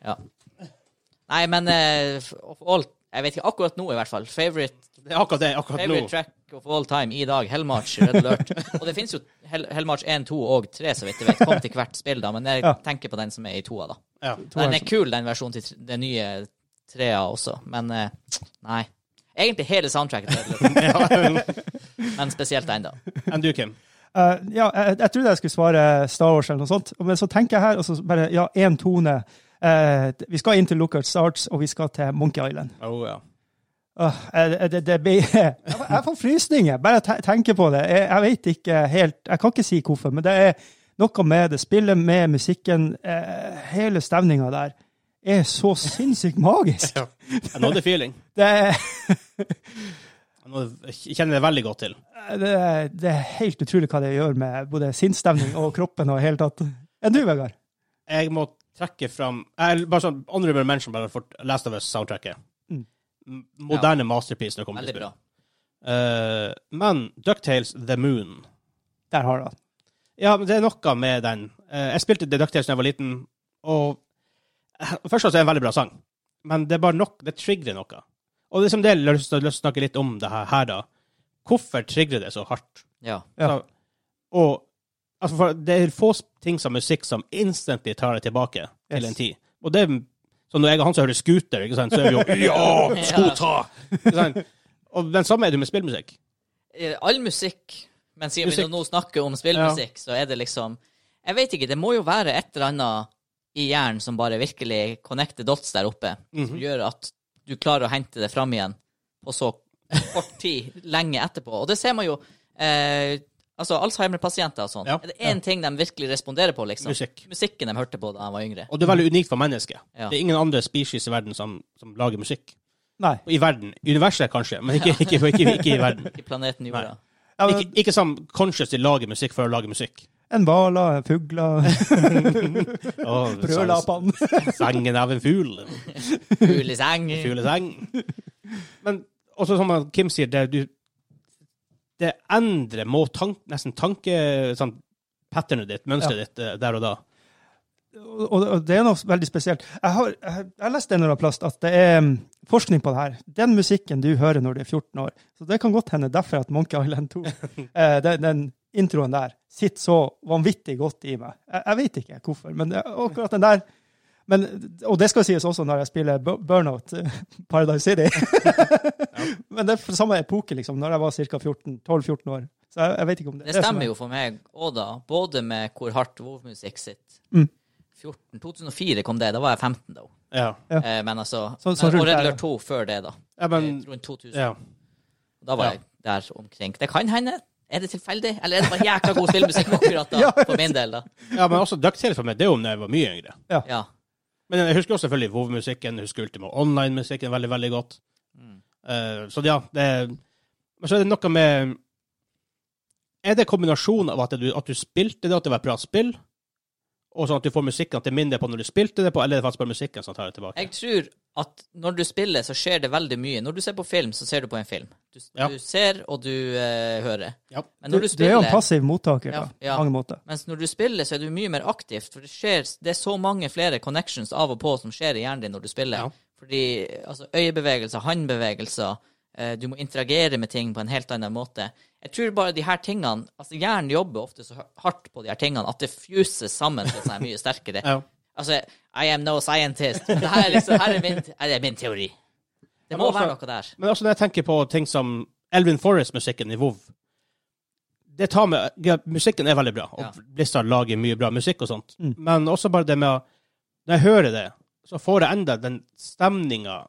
Speaker 3: Ja. Nei, men eh, of all Jeg vet ikke akkurat nå, i hvert fall. Favorite,
Speaker 2: Det er akkurat det. akkurat
Speaker 3: favorite
Speaker 2: nå.
Speaker 3: track of all time i dag, Hellmarch Red Alert. og det finnes jo Hell, Hellmarch 1, 2 og 3, så vidt jeg vet. Kom til hvert spill, da. Men jeg
Speaker 1: Ja.
Speaker 3: tenker på den som er i toa, da.
Speaker 2: Ja.
Speaker 3: Den er kul, den versjonen til tre- den nye trea også, men eh, nei. Egentlig hele soundtracket, er litt- men spesielt den, da.
Speaker 2: Enn du, Kim?
Speaker 1: Eh, ja, jeg, jeg trodde jeg skulle svare Star Wars eller noe sånt, men så tenker jeg her, og så bare ja, én tone. Eh, vi skal inn til Lookout Starts, og vi skal til Monkey Island.
Speaker 2: Oh, ja.
Speaker 1: Åh, eh, det, det blir Jeg får- jeg får frysninger, bare jeg te- tenker på det. Jeg, jeg vet ikke helt Jeg kan ikke si hvorfor, men det er noe med det. Spillet med musikken, eh, hele stemninga der, er så sinnssykt magisk.
Speaker 2: Jeg nådde feeling.
Speaker 1: Det, er-
Speaker 2: Jeg nådde- jeg kjenner det veldig godt til.
Speaker 1: Eh, det, er- det er helt utrolig hva det gjør med både sinnsstemning og kroppen og i hele tatt. Enn du, Vegard?
Speaker 2: Jeg må trekke fram jeg, bare sånn, Honorable mention bare for Last of Us-soundtracket.
Speaker 1: Mm.
Speaker 2: M- Moderne masterpiece når det kommer
Speaker 3: Veldig
Speaker 2: til spill.
Speaker 3: bra.
Speaker 2: Eh, men Ducktales The Moon
Speaker 1: Der har du han.
Speaker 2: Ja, men det er noe med den. Eh, jeg spilte The Ducktales da jeg var liten, og eh, først og fremst er det en veldig bra sang, men det er bare nok, det trigger noe. Og det er som det jeg har lyst til lyst til å snakke litt om det her, her da. Hvorfor trigger det så hardt?
Speaker 3: Ja.
Speaker 1: Ja.
Speaker 2: Så, og altså, for det er få ting som musikk som instantly tar deg tilbake til
Speaker 1: Yes.
Speaker 2: en tid. Og det er så når jeg og han som hører scooter, ikke sant, så er vi jo Ja, scooter! Ikke sant? Og den samme er det med spillmusikk.
Speaker 3: Eh, All musikk, men siden vi
Speaker 2: Musikk.
Speaker 3: nå snakker om spillmusikk, så er det liksom Jeg vet ikke, det må jo være et eller annet i hjernen som bare virkelig connecter dots der oppe,
Speaker 2: Mhm.
Speaker 3: som gjør at du klarer å hente det fram igjen på så kort tid lenge etterpå. Og det ser man jo. Eh, altså Alzheimer-pasienter og sånn.
Speaker 2: Ja.
Speaker 3: Er det én ting de virkelig responderer på, liksom?
Speaker 2: Musikk.
Speaker 3: Musikken de hørte på da de var yngre.
Speaker 2: Og det er veldig unikt for mennesket.
Speaker 3: Ja.
Speaker 2: Det er ingen andre species i verden som, som lager musikk.
Speaker 1: Nei.
Speaker 2: I verden. I universet, kanskje, men ikke, ikke, ikke, ikke i verden.
Speaker 3: Ikke planeten jorda.
Speaker 1: Ja, men,
Speaker 2: Ikke, ikke som consciously lager musikk for å lage musikk.
Speaker 1: en hvaler, en fugler,
Speaker 2: Oh,
Speaker 1: brødlapene.
Speaker 2: Sangen av en fugl.
Speaker 3: Fugl i seng.
Speaker 2: Fuglesang. Men også som han- Kim sier, det, du, det endrer må tank, nesten tanke... Sånn, patternet ditt, mønsteret ditt, eh, der og da.
Speaker 1: Og, og og det er noe veldig spesielt. Jeg har, jeg, jeg leste en eller annen plass at det er mm, forskning på det her. Den musikken du hører når du er 14 år, så det kan godt hende derfor at Monkey Island 2, eh, den, den introen der, sitter så vanvittig godt i meg. Jeg, jeg vet ikke hvorfor, men det- akkurat den der men, og det skal sies også når jeg spiller Bu- Burnout, eh, Paradise City. Men det er fra samme epoke, liksom, når jeg var ca. 14-12-14 år. Så jeg, jeg vet ikke om det
Speaker 3: Det stemmer jo for meg òg, da. Både med hvor hardt Vov-musikk sitter.
Speaker 1: Mm.
Speaker 3: 14, 2004 kom det. Da var jeg 15, da.
Speaker 2: Ja.
Speaker 1: Ja.
Speaker 3: Eh, men altså
Speaker 1: Så- så
Speaker 3: men,
Speaker 1: rundt
Speaker 3: Og Red
Speaker 1: der,
Speaker 3: Alert 2 før det, da.
Speaker 2: ja, men
Speaker 3: Eh, rundt 2000.
Speaker 2: ja.
Speaker 3: Da
Speaker 2: Ja.
Speaker 3: var jeg der omkring. Det kan hende. Er det tilfeldig? Eller er det bare jækla god spillmusikk akkurat da? For min del, da.
Speaker 2: ja, men også Ducktail for meg, det er jo da jeg var mye yngre.
Speaker 3: Ja.
Speaker 2: Men jeg husker jo selvfølgelig WoW-musikken, husker Ultima Online-musikken veldig, veldig godt.
Speaker 3: Mm.
Speaker 2: Eh, så ja, det Men så er det noe med Er det kombinasjonen av at du, at du spilte det, at det var et bra spill, og sånn at du får musikken til mindre på når du spilte det på, eller er det faktisk bare musikken som tar det tilbake?
Speaker 3: Jeg tror at når du spiller, så skjer det veldig mye. Når du ser på film, så ser du på en film. Du,
Speaker 2: Ja.
Speaker 3: du ser, og du eh, hører.
Speaker 2: Ja.
Speaker 3: Men når du,
Speaker 1: Du er jo
Speaker 3: spiller
Speaker 1: en passiv mottaker,
Speaker 3: Ja,
Speaker 1: da, på
Speaker 3: ja.
Speaker 1: mange måter.
Speaker 3: Mens når du spiller, så er du mye mer aktivt, for det, skjer, det er så mange flere connections av og på som skjer i hjernen din når du spiller.
Speaker 2: Ja.
Speaker 3: Fordi altså, øyebevegelser, håndbevegelser, Eh, Du må interagere med ting på en helt annen måte. Jeg tror bare de her tingene Altså, hjernen jobber ofte så hardt på de her tingene at det fuses sammen til seg mye sterkere.
Speaker 2: Ja.
Speaker 3: Altså, I am no scientist, men det her er liksom Her er min, her er min teori. Det
Speaker 2: men
Speaker 3: må
Speaker 2: også-
Speaker 3: være noe der.
Speaker 2: Men også når jeg tenker på ting som Elvin Forrest-musikken i WoW det tar med, ja, Musikken er veldig bra, og
Speaker 3: Ja.
Speaker 2: Blizzard lager mye bra musikk og sånt.
Speaker 1: Mm.
Speaker 2: Men også bare det med å Når jeg hører det, så får jeg enda den stemninga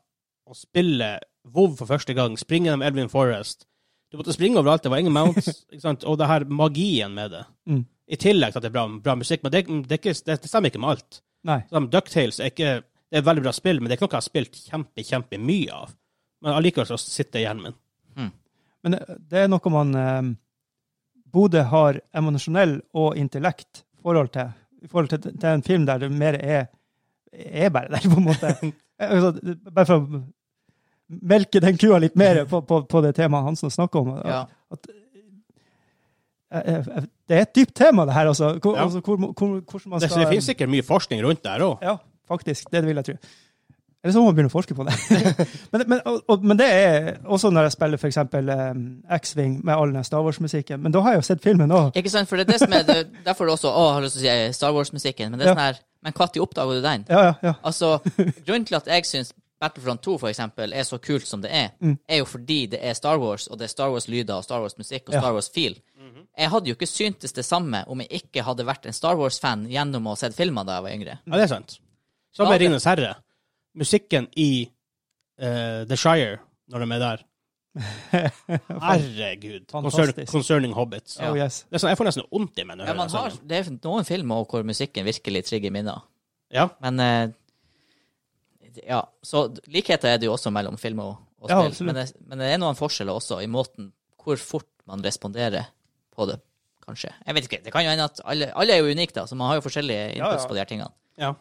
Speaker 2: å spille WoW for første gang, springe gjennom Elvin Forrest Du måtte springe overalt, det var ingen mounts, ikke sant? og det her magien med det.
Speaker 1: Mm.
Speaker 2: I tillegg til at det er bra, bra musikk, men det, det, er ikke, det stemmer ikke med alt.
Speaker 1: Nei.
Speaker 2: Som Ducktails er ikke Det er et veldig bra spill, men det er ikke noe jeg har spilt kjempe, kjempe mye av. Men allikevel så sitter det i hjernen min.
Speaker 1: Men det- det er noe man eh, Bodø har emosjonell og intellekt forhold til. I forhold til, til en film der det mer er er bare der, på en måte. Eh, altså, det- bare for å melke den kua litt mer på, på, på det temaet Hansen snakker om.
Speaker 3: Ja.
Speaker 1: Eh, eh, Det er et dypt tema, det her, altså. Hvor,
Speaker 2: Ja.
Speaker 1: altså, hvor, hvor, hvordan man
Speaker 2: Det,
Speaker 1: skal
Speaker 2: så det finnes sikkert mye forskning rundt der òg.
Speaker 1: ja, faktisk. Det vil jeg tro. Eller så må man begynne å forske på det. men, men, og, og, men det er også når jeg spiller f.eks. Um, X-Wing med all den Star Wars-musikken. Men da har jeg jo sett filmen òg.
Speaker 3: Ikke sant? For det er det som er det, Derfor også Å, jeg har lyst til å si Star Wars-musikken. Men det er
Speaker 1: Ja.
Speaker 3: sånn her Men når oppdaga du den?
Speaker 1: Ja, ja, ja.
Speaker 3: Altså, grunnen til at jeg syns Battlefront 2 for eksempel, er så kult som det er, er jo fordi det er Star Wars, og det er Star Wars-lyder og Star Wars-musikk og
Speaker 1: Ja.
Speaker 3: Star Wars-feel. Jeg hadde jo ikke syntes det samme om jeg ikke hadde vært en Star Wars-fan gjennom å ha sett filmer da jeg var yngre.
Speaker 2: Ja, det er sant. Som
Speaker 3: Ja,
Speaker 2: med
Speaker 3: det-
Speaker 2: Ringenes herre. Musikken i eh, The Shire, når de er der. Herregud. Concern,
Speaker 1: Fantastisk.
Speaker 2: concerning Hobbits.
Speaker 3: Ja.
Speaker 1: Oh, yes.
Speaker 2: Det er sånn, jeg får nesten vondt i meg når
Speaker 3: Men
Speaker 2: jeg
Speaker 3: man
Speaker 2: hører sånn.
Speaker 3: har,
Speaker 2: det.
Speaker 3: det er noen filmer hvor musikken virkelig trigger minner.
Speaker 2: Ja.
Speaker 3: Men eh, ja, så likheter er det jo også mellom film og, og
Speaker 1: Ja,
Speaker 3: spill.
Speaker 1: absolutt.
Speaker 3: men, det, men det er noen forskjeller også i måten hvor fort man responderer på det, kanskje. Jeg vet ikke, det kan jo hende at alle, alle er jo unike, da, så man har jo forskjellige
Speaker 1: Ja,
Speaker 3: inputs
Speaker 1: ja.
Speaker 3: på de her tingene.
Speaker 2: ja.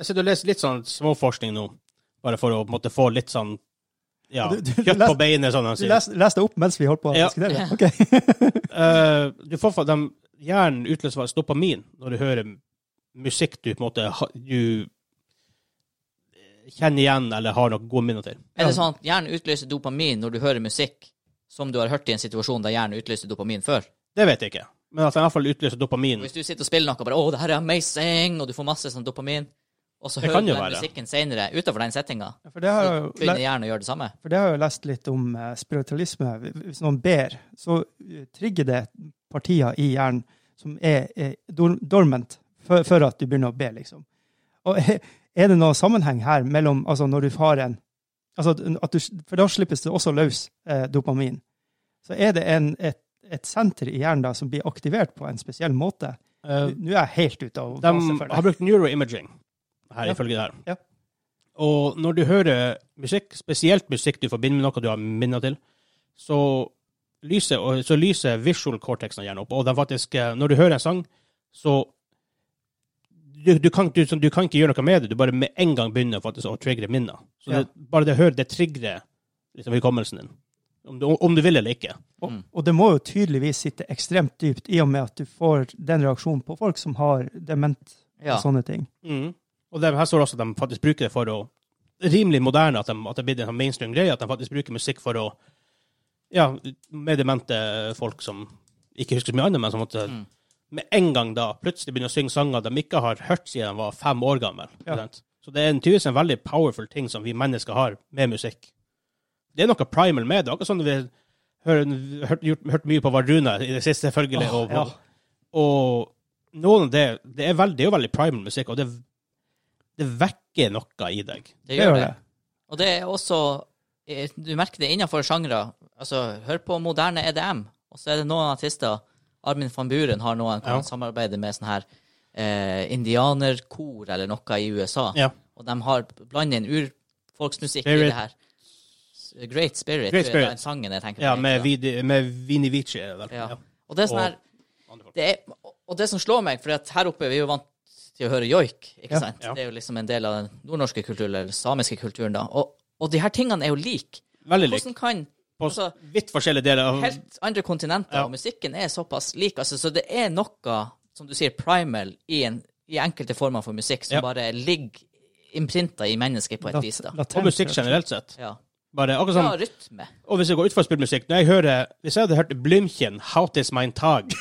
Speaker 2: Jeg sitter og leser litt sånn småforskning nå, bare for å på en måte få litt sånn ja,
Speaker 1: Du- du-
Speaker 2: kjøtt
Speaker 1: les-
Speaker 2: på beinet, sånn de
Speaker 1: Du
Speaker 2: sier.
Speaker 1: leste leste opp mens vi holdt på å
Speaker 2: Ja.
Speaker 1: diskutere? det? Ok.
Speaker 2: Eh, du får for dem, hjernen utløser faktisk dopamin når du hører musikk du på en måte ha- du kjenner igjen eller har noen gode minner til.
Speaker 3: Er det sånn at hjernen utløser dopamin når du hører musikk som du har hørt i en situasjon der hjernen utløser dopamin før?
Speaker 2: Det vet jeg ikke, men at den i hvert fall utløser dopamin.
Speaker 3: Hvis du sitter og spiller noe og bare 'Å, det her er amazing', og du får masse sånn dopamin, og så
Speaker 2: Det
Speaker 3: hører
Speaker 2: kan
Speaker 3: du
Speaker 2: jo
Speaker 3: den
Speaker 2: være.
Speaker 3: musikken senere utenfor den settinga,
Speaker 1: For det har jeg jo le-
Speaker 3: begynner hjernen å gjøre det samme.
Speaker 1: For det har jeg jo lest litt om eh, spiritualisme. Hvis noen ber, så eh, trigger det partier i hjernen som er, er dor- dormant før, før at du begynner å be, liksom. Og eh, er det noen sammenheng her mellom altså når du har en altså at- at du, For da slippes det også løs eh, dopamin. Så er det en, et, et senter i hjernen da som blir aktivert på en spesiell måte.
Speaker 2: Eh,
Speaker 1: Nå er jeg helt ute av fase
Speaker 2: de
Speaker 1: for
Speaker 2: har
Speaker 1: det.
Speaker 2: brukt neuroimaging her,
Speaker 1: Ja.
Speaker 2: ifølge det her.
Speaker 1: Ja.
Speaker 2: Og når du hører musikk, spesielt musikk du forbinder med noe du har minner til, så lyser, og- så lyser visual cortexen gjerne opp. Og den faktisk, eh, når du hører en sang, så du, du, kan, du, du kan ikke gjøre noe med det. Du bare med en gang begynner faktisk å triggere minner. Så
Speaker 1: Ja.
Speaker 2: det, bare det å høre det trigger liksom, hukommelsen din. Om du, om du vil eller ikke.
Speaker 1: Og,
Speaker 3: Mm.
Speaker 1: og det må jo tydeligvis sitte ekstremt dypt, i og med at du får den reaksjonen på folk som har dement
Speaker 3: Ja.
Speaker 1: og sånne ting.
Speaker 2: Og det, her står også at de faktisk bruker det for å Rimelig moderne at, de, at det blir en sånn mainstream greie, at de faktisk bruker musikk for å Ja, med demente folk som ikke husker så mye annet, men som måtte med en gang da plutselig begynner å synge sanger de ikke har hørt siden de var fem år gamle.
Speaker 1: Ja.
Speaker 2: Så det er en tydeligvis en veldig powerful ting som vi mennesker har med musikk. Det er noe primal med det. Akkurat sånn vi har hørt, gjort- hørt mye på Varuna i det siste, selvfølgelig.
Speaker 1: Åh,
Speaker 2: og, og noen av det Det er veldig, det er jo veldig primal musikk, og det, det vekker noe i deg.
Speaker 3: Det gjør det. Og det er også eh, Du merker det innenfor sjangre. Altså, hør på moderne EDM, og så er det noen artister Armin van Buren har noen hvor
Speaker 2: Ja.
Speaker 3: han samarbeider med sånn her eh, indianerkor eller noe i USA,
Speaker 2: Ja.
Speaker 3: og de har blander inn urfolksmusikk i
Speaker 2: Spirit.
Speaker 3: det her. S- Great Spirit,
Speaker 2: Great
Speaker 3: tror jeg det er
Speaker 2: Spirit.
Speaker 3: den sangen jeg tenker på.
Speaker 2: Ja,
Speaker 3: egentlig,
Speaker 2: med,
Speaker 3: da.
Speaker 2: Vidi- med Vini Vici. er det vel?
Speaker 3: Ja.
Speaker 2: Ja.
Speaker 3: Og det er sånn
Speaker 2: Og
Speaker 3: her det er, Og det som slår meg, for at her oppe er vi jo vant til å høre joik, ikke
Speaker 1: Ja.
Speaker 3: sant?
Speaker 2: Ja.
Speaker 3: Det er jo liksom en del av den nordnorske kulturen, eller samiske kulturen, da. Og, og de her tingene er jo like.
Speaker 2: Veldig likt.
Speaker 3: Hvordan kan
Speaker 2: På
Speaker 3: altså,
Speaker 2: vidt forskjellige deler av
Speaker 3: helt andre kontinenter,
Speaker 2: Ja.
Speaker 3: og musikken er såpass lik, altså, så det er noe, som du sier, primal i, en, i enkelte former for musikk som
Speaker 2: Ja.
Speaker 3: bare ligger imprinta i mennesket på et
Speaker 1: Lat-
Speaker 3: vis, da.
Speaker 1: latent
Speaker 2: Og musikk
Speaker 1: reaksjon.
Speaker 2: generelt sett.
Speaker 3: Ja.
Speaker 2: Bare akkurat
Speaker 3: Bra
Speaker 2: sånn.
Speaker 3: rytme.
Speaker 2: Og hvis jeg går ut for spillmusikk Når jeg hører Hvis jeg hadde hørt Blymkjen, 'How Tis Mine Tag',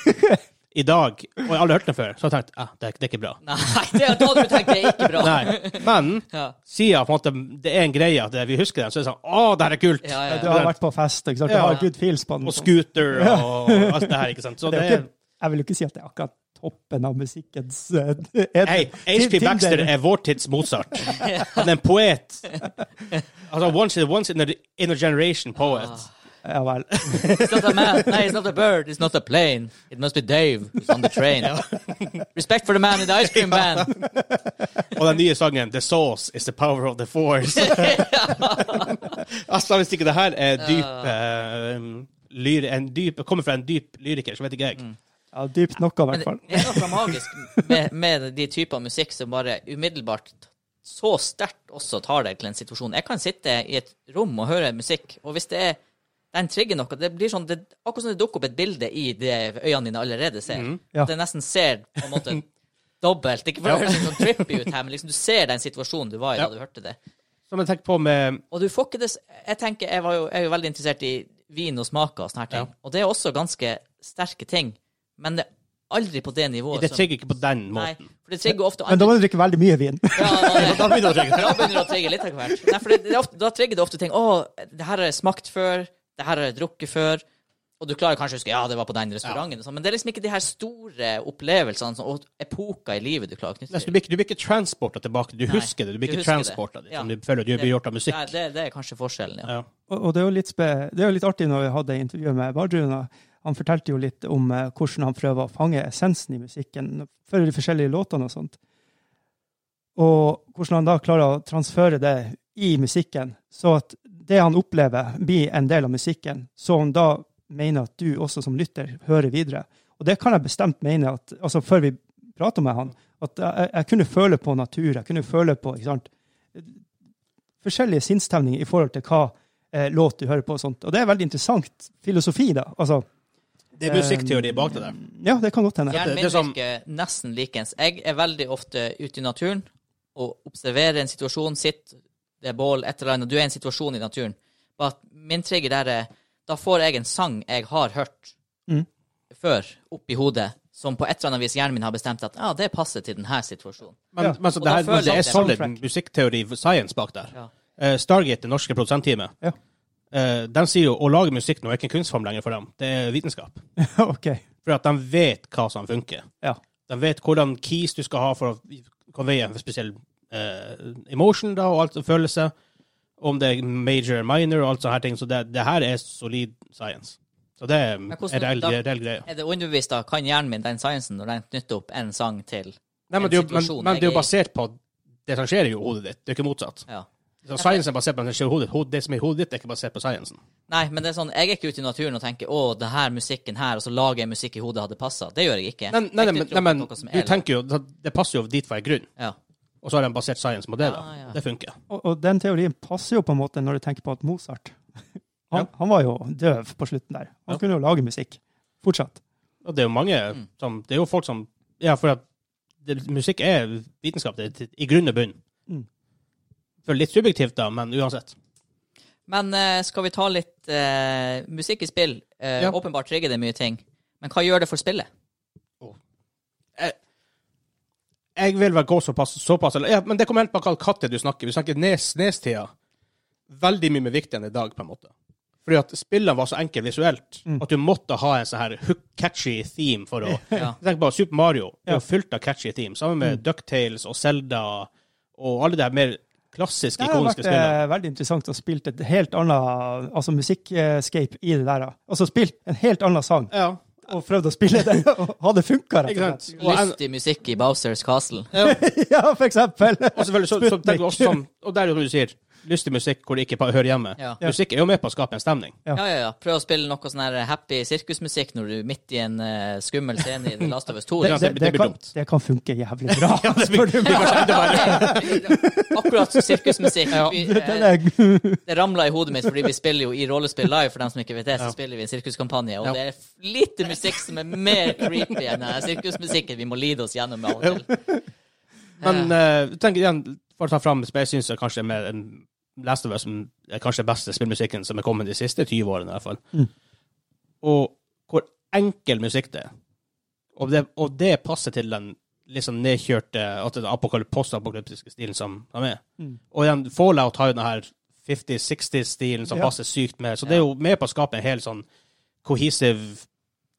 Speaker 2: i dag, og jeg aldri hørt den før, så hadde jeg tenkt ah, det, er, det er ikke bra.
Speaker 3: Nei, det er da du tenker det er ikke bra.
Speaker 2: Nei. Men
Speaker 3: Ja.
Speaker 2: siden på en måte det er en greie at vi husker den, så er det sånn Å, det her er kult!
Speaker 3: Ja, ja,
Speaker 1: Du
Speaker 3: ja.
Speaker 1: har vært på fest, ikke sant? Du
Speaker 2: Ja.
Speaker 1: har good feels på den.
Speaker 2: Og scooter og alt det her, ikke sant. Så
Speaker 1: Det
Speaker 2: det
Speaker 1: er jo
Speaker 2: er
Speaker 1: ikke, jeg vil jo ikke si at det er akkurat toppen av musikkens eh, ed-
Speaker 2: Hei,
Speaker 1: Tinder.
Speaker 2: HP Baxter er vår tids Mozart. Han er en poet. Altså, once, once in, a, in a generation poet.
Speaker 3: Ah.
Speaker 1: Ja vel.
Speaker 3: It's not a man. Nei, it's not a bird. It's not a plane. It must be Dave who's on the train. Respect for the man in the ice cream van.
Speaker 2: Og den nye sangen 'The Sauce Is The Power Of The Force'. altså, hvis ikke det her er dyp
Speaker 3: Ah.
Speaker 2: eh, lyr, en dyp, kommer fra en dyp lyriker, så vet ikke jeg.
Speaker 3: Mm.
Speaker 1: Ja, dypt nok, i
Speaker 3: Men
Speaker 1: hvert fall.
Speaker 3: det er noe magisk med, med de typer musikk som bare umiddelbart så sterkt også tar deg til en situasjon. Jeg kan sitte i et rom og høre musikk, og hvis det er den trigger noe, det blir sånn, det, akkurat som det dukker opp et bilde i det øynene dine allerede ser.
Speaker 1: Ja.
Speaker 3: Det nesten ser på en måte dobbelt. Ikke for å høres sånn trippy ut her, men liksom, du ser den situasjonen du var i
Speaker 2: Ja.
Speaker 3: da du hørte det.
Speaker 2: Som jeg tenker på med
Speaker 3: Og du får ikke det s- Jeg tenker, jeg, var jo, jeg er jo veldig interessert i vin og smaker og sånne her ting, og det er også ganske sterke ting, men det er aldri på det nivået
Speaker 2: Det
Speaker 3: som-
Speaker 2: trigger ikke på den måten.
Speaker 3: Nei, for det trigger
Speaker 1: Men
Speaker 3: ofte
Speaker 1: da
Speaker 3: andre
Speaker 1: må du drikke veldig mye vin.
Speaker 3: ja, da-
Speaker 2: Da begynner det å trigge.
Speaker 3: Da begynner det å trigge litt av hvert. Nei, for det, det er ofte, da trigger det ofte ting. Å, det her har jeg smakt før. Det her har jeg drukket før. Og du klarer kanskje å huske ja, det var på den restauranten, og sånn, men det er liksom ikke de her store opplevelsene sånn, og epoker i livet du klarer å knytte
Speaker 2: Nesten, Du blir ikke, du blir ikke transporta tilbake. Du husker det. Du blir
Speaker 3: du
Speaker 2: ikke
Speaker 3: husker det.
Speaker 2: transporta. dit,
Speaker 3: Ja.
Speaker 2: Som du føler du blir gjort av musikk.
Speaker 3: Nei, det, det er kanskje forskjellen, ja.
Speaker 2: Ja.
Speaker 1: Og, og det, er jo litt spe, det er jo litt artig når vi hadde intervjuet med Bardruna. Han fortalte jo litt om eh, hvordan han prøver å fange essensen i musikken for de forskjellige låtene og sånt. Og hvordan han da klarer å transføre det i musikken, så at det han opplever, blir en del av musikken, så han da mener at du også som lytter hører videre. Og det kan jeg bestemt mene, at, altså før vi prater med han, at jeg, jeg kunne føle på natur, jeg kunne føle på ikke sant, forskjellige sinnsstemninger i forhold til hva eh, låt du hører på og sånt. Og det er veldig interessant filosofi, da. Altså,
Speaker 2: Det er musikkteori bak det der.
Speaker 1: ja, det kan godt hende.
Speaker 2: Ja. det
Speaker 3: Hjernen min
Speaker 2: er som-
Speaker 3: virker nesten likens. Jeg er veldig ofte ute i naturen og observerer en situasjon, sitt, det er bål, et eller annet, du er i en situasjon i naturen. Bare at min trigger der er Da får jeg en sang jeg har hørt
Speaker 1: Mm.
Speaker 3: før, opp i hodet, som på et eller annet vis hjernen min har bestemt at ja, det passer til denne situasjonen.
Speaker 2: Men,
Speaker 1: Ja.
Speaker 2: men så det,
Speaker 3: Og da
Speaker 2: her, men
Speaker 3: føler
Speaker 2: så
Speaker 3: jeg
Speaker 2: er
Speaker 3: det.
Speaker 2: solid
Speaker 1: Soundtrack.
Speaker 2: musikkteori science bak der.
Speaker 3: Ja.
Speaker 2: Eh, Stargate, det norske produsentteamet,
Speaker 1: Ja.
Speaker 2: eh, de sier jo å lage musikk nå er ikke en kunstform lenger for dem. Det er vitenskap.
Speaker 1: OK.
Speaker 2: For at de vet hva som funker.
Speaker 1: Ja.
Speaker 2: De vet hvordan keys du skal ha for å konveie en spesiell eh, emotion da, og alt følelse. Om det er major eller minor og alt sånne her ting. Så det, det her er solid science. Så det er en
Speaker 3: hvordan-
Speaker 2: reell,
Speaker 3: da-
Speaker 2: reell greie.
Speaker 3: Er det underbevist, da? Kan hjernen min den sciencen når den knytter opp en sang til
Speaker 2: Nei, men, det er jo, men,
Speaker 3: situasjon
Speaker 2: men det er
Speaker 3: jeg
Speaker 2: jo
Speaker 3: er i.
Speaker 2: basert på det som skjer i hodet ditt. Det er ikke motsatt.
Speaker 3: ja.
Speaker 2: Så science er basert på det som skjer i hodet ditt. Hod- Det som er i hodet ditt, er ikke basert på sciencen.
Speaker 3: Nei, men det er sånn, jeg er ikke ute i naturen og tenker 'Å, det her musikken her', og så lager jeg musikk i hodet hadde passa. Det gjør jeg ikke.
Speaker 2: Nei, nei, nei,
Speaker 3: Jeg
Speaker 2: men,
Speaker 3: knytter
Speaker 2: nei,
Speaker 3: opp
Speaker 2: men
Speaker 3: noe som
Speaker 2: du
Speaker 3: er-
Speaker 2: tenker jo Det det passer jo dit for en grunn.
Speaker 3: ja.
Speaker 2: Og så har de basert science på det. da.
Speaker 3: Ja, ja.
Speaker 2: Det funker.
Speaker 1: Og, og den teorien passer jo på en måte når du tenker på at Mozart Han, han var jo døv på slutten der. Han
Speaker 2: Ja.
Speaker 1: kunne jo lage musikk. Fortsatt.
Speaker 2: Og det er jo mange
Speaker 3: Mm.
Speaker 2: som Det er jo folk som Ja, for at det, musikk er vitenskap det, er til- i grunn og bunn.
Speaker 1: Mm.
Speaker 2: For litt subjektivt, da, men uansett.
Speaker 3: Men eh, skal vi ta litt eh, musikk i spill? Eh,
Speaker 2: Ja.
Speaker 3: Åpenbart trigger det mye ting. Men hva gjør det for spillet?
Speaker 2: Jeg vil vel gå såpass, såpass eller, ja, Men det kommer helt på hva katte du snakker. Vi snakker nes, nestida. Veldig mye mer viktig enn i dag, på en måte. Fordi at spillene var så enkle visuelt at du måtte ha en sånn her hook, catchy theme for å
Speaker 3: Ja.
Speaker 2: Tenk bare Super Mario. Det er jo fylt av catchy team. Sammen med DuckTales og Zelda og alle de her mer klassiske,
Speaker 1: Det har
Speaker 2: ikoniske
Speaker 1: vært
Speaker 2: spillene.
Speaker 1: eh, veldig interessant å spille et helt annet altså musikkscape i det der. da. Altså spilt en helt annen sang
Speaker 2: Ja,
Speaker 1: og prøvd å spille den, og hadde funka, rett og
Speaker 2: ikke
Speaker 1: slett.
Speaker 2: sant? Og, en,
Speaker 3: Lystig musikk i Bowsers Castle.
Speaker 1: Ja, for eksempel.
Speaker 2: og selvfølgelig så, så tenker vi også sånn Og der er det du sier lystig musikk hvor det ikke pa- hører hjemme.
Speaker 3: Ja.
Speaker 2: Musikk er jo med på å skape en stemning.
Speaker 1: Ja.
Speaker 3: Ja, ja, ja. Prøv å spille noe sånn her happy sirkusmusikk når du er midt i en eh, skummel scene i The Last of Us liksom. 2.
Speaker 2: Det- det- blir
Speaker 1: kan,
Speaker 2: dumt.
Speaker 1: det kan funke jævlig bra.
Speaker 2: blir-
Speaker 1: spør du meg.
Speaker 3: Akkurat som sirkusmusikk. Vi,
Speaker 1: Den
Speaker 3: eh,
Speaker 1: er
Speaker 3: det ramla i hodet mitt, fordi vi spiller jo i rollespill live, for dem som ikke vet det, så spiller vi en sirkuskampanje, og
Speaker 2: Ja.
Speaker 3: det er f- lite musikk som er mer creepy enn den her sirkusmusikken vi må lide oss gjennom av og til.
Speaker 2: Men eh, tenk igjen, for å ta fram Space Syns jeg kanskje er mer en Last of Us som er kanskje den beste spillmusikken som er kommet de siste 20 årene, i hvert fall.
Speaker 1: Mm.
Speaker 2: Og hvor enkel musikk det er. Og det, og det passer til den liksom nedkjørte at det er apokalyp- postapokalyptiske stilen som som er.
Speaker 1: Mm.
Speaker 2: Og igjen, Fallout har jo den her 50-60-stilen som
Speaker 1: Ja.
Speaker 2: passer sykt med. Så det er jo med på å skape en hel sånn kohesiv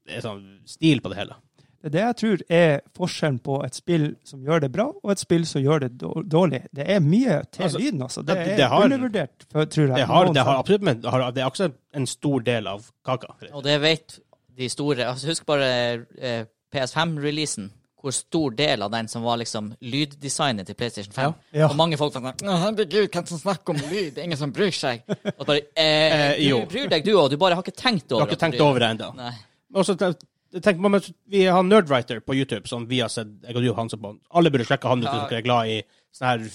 Speaker 2: eh, sånn, stil på det hele.
Speaker 1: Det er det jeg tror er forskjellen på et spill som gjør det bra, og et spill som gjør det dår- dårlig. Det er mye til
Speaker 2: Altså,
Speaker 1: lyden, altså. Det
Speaker 2: det-
Speaker 1: er
Speaker 2: det har-
Speaker 1: undervurdert, for- tror jeg.
Speaker 2: Det har,
Speaker 1: Noen
Speaker 2: det har
Speaker 1: sa-
Speaker 2: absolutt men det har, det er også en stor del av kaka.
Speaker 3: Og det vet de store altså Husk bare eh, PS5-releasen. Hvor stor del av den som var liksom lyddesignet til PlayStation 5.
Speaker 1: Ja.
Speaker 3: Og mange folk var sånn «Å, Herregud, hvem som snakker om lyd? Det er Ingen som bryr seg. Og bare eh,
Speaker 2: Eh,
Speaker 3: Du
Speaker 2: jo.
Speaker 3: bryr deg, du òg. Du bare har ikke tenkt
Speaker 2: Du
Speaker 3: over
Speaker 2: har ikke tenkt over det ennå.
Speaker 3: Nei.
Speaker 2: Og så tenk- tenk på- men Vi har Nerdwriter på YouTube, som vi har sett jeg og du Hansen på. Alle burde sjekke han ut hvis
Speaker 3: Ja.
Speaker 2: dere er glad i sånne her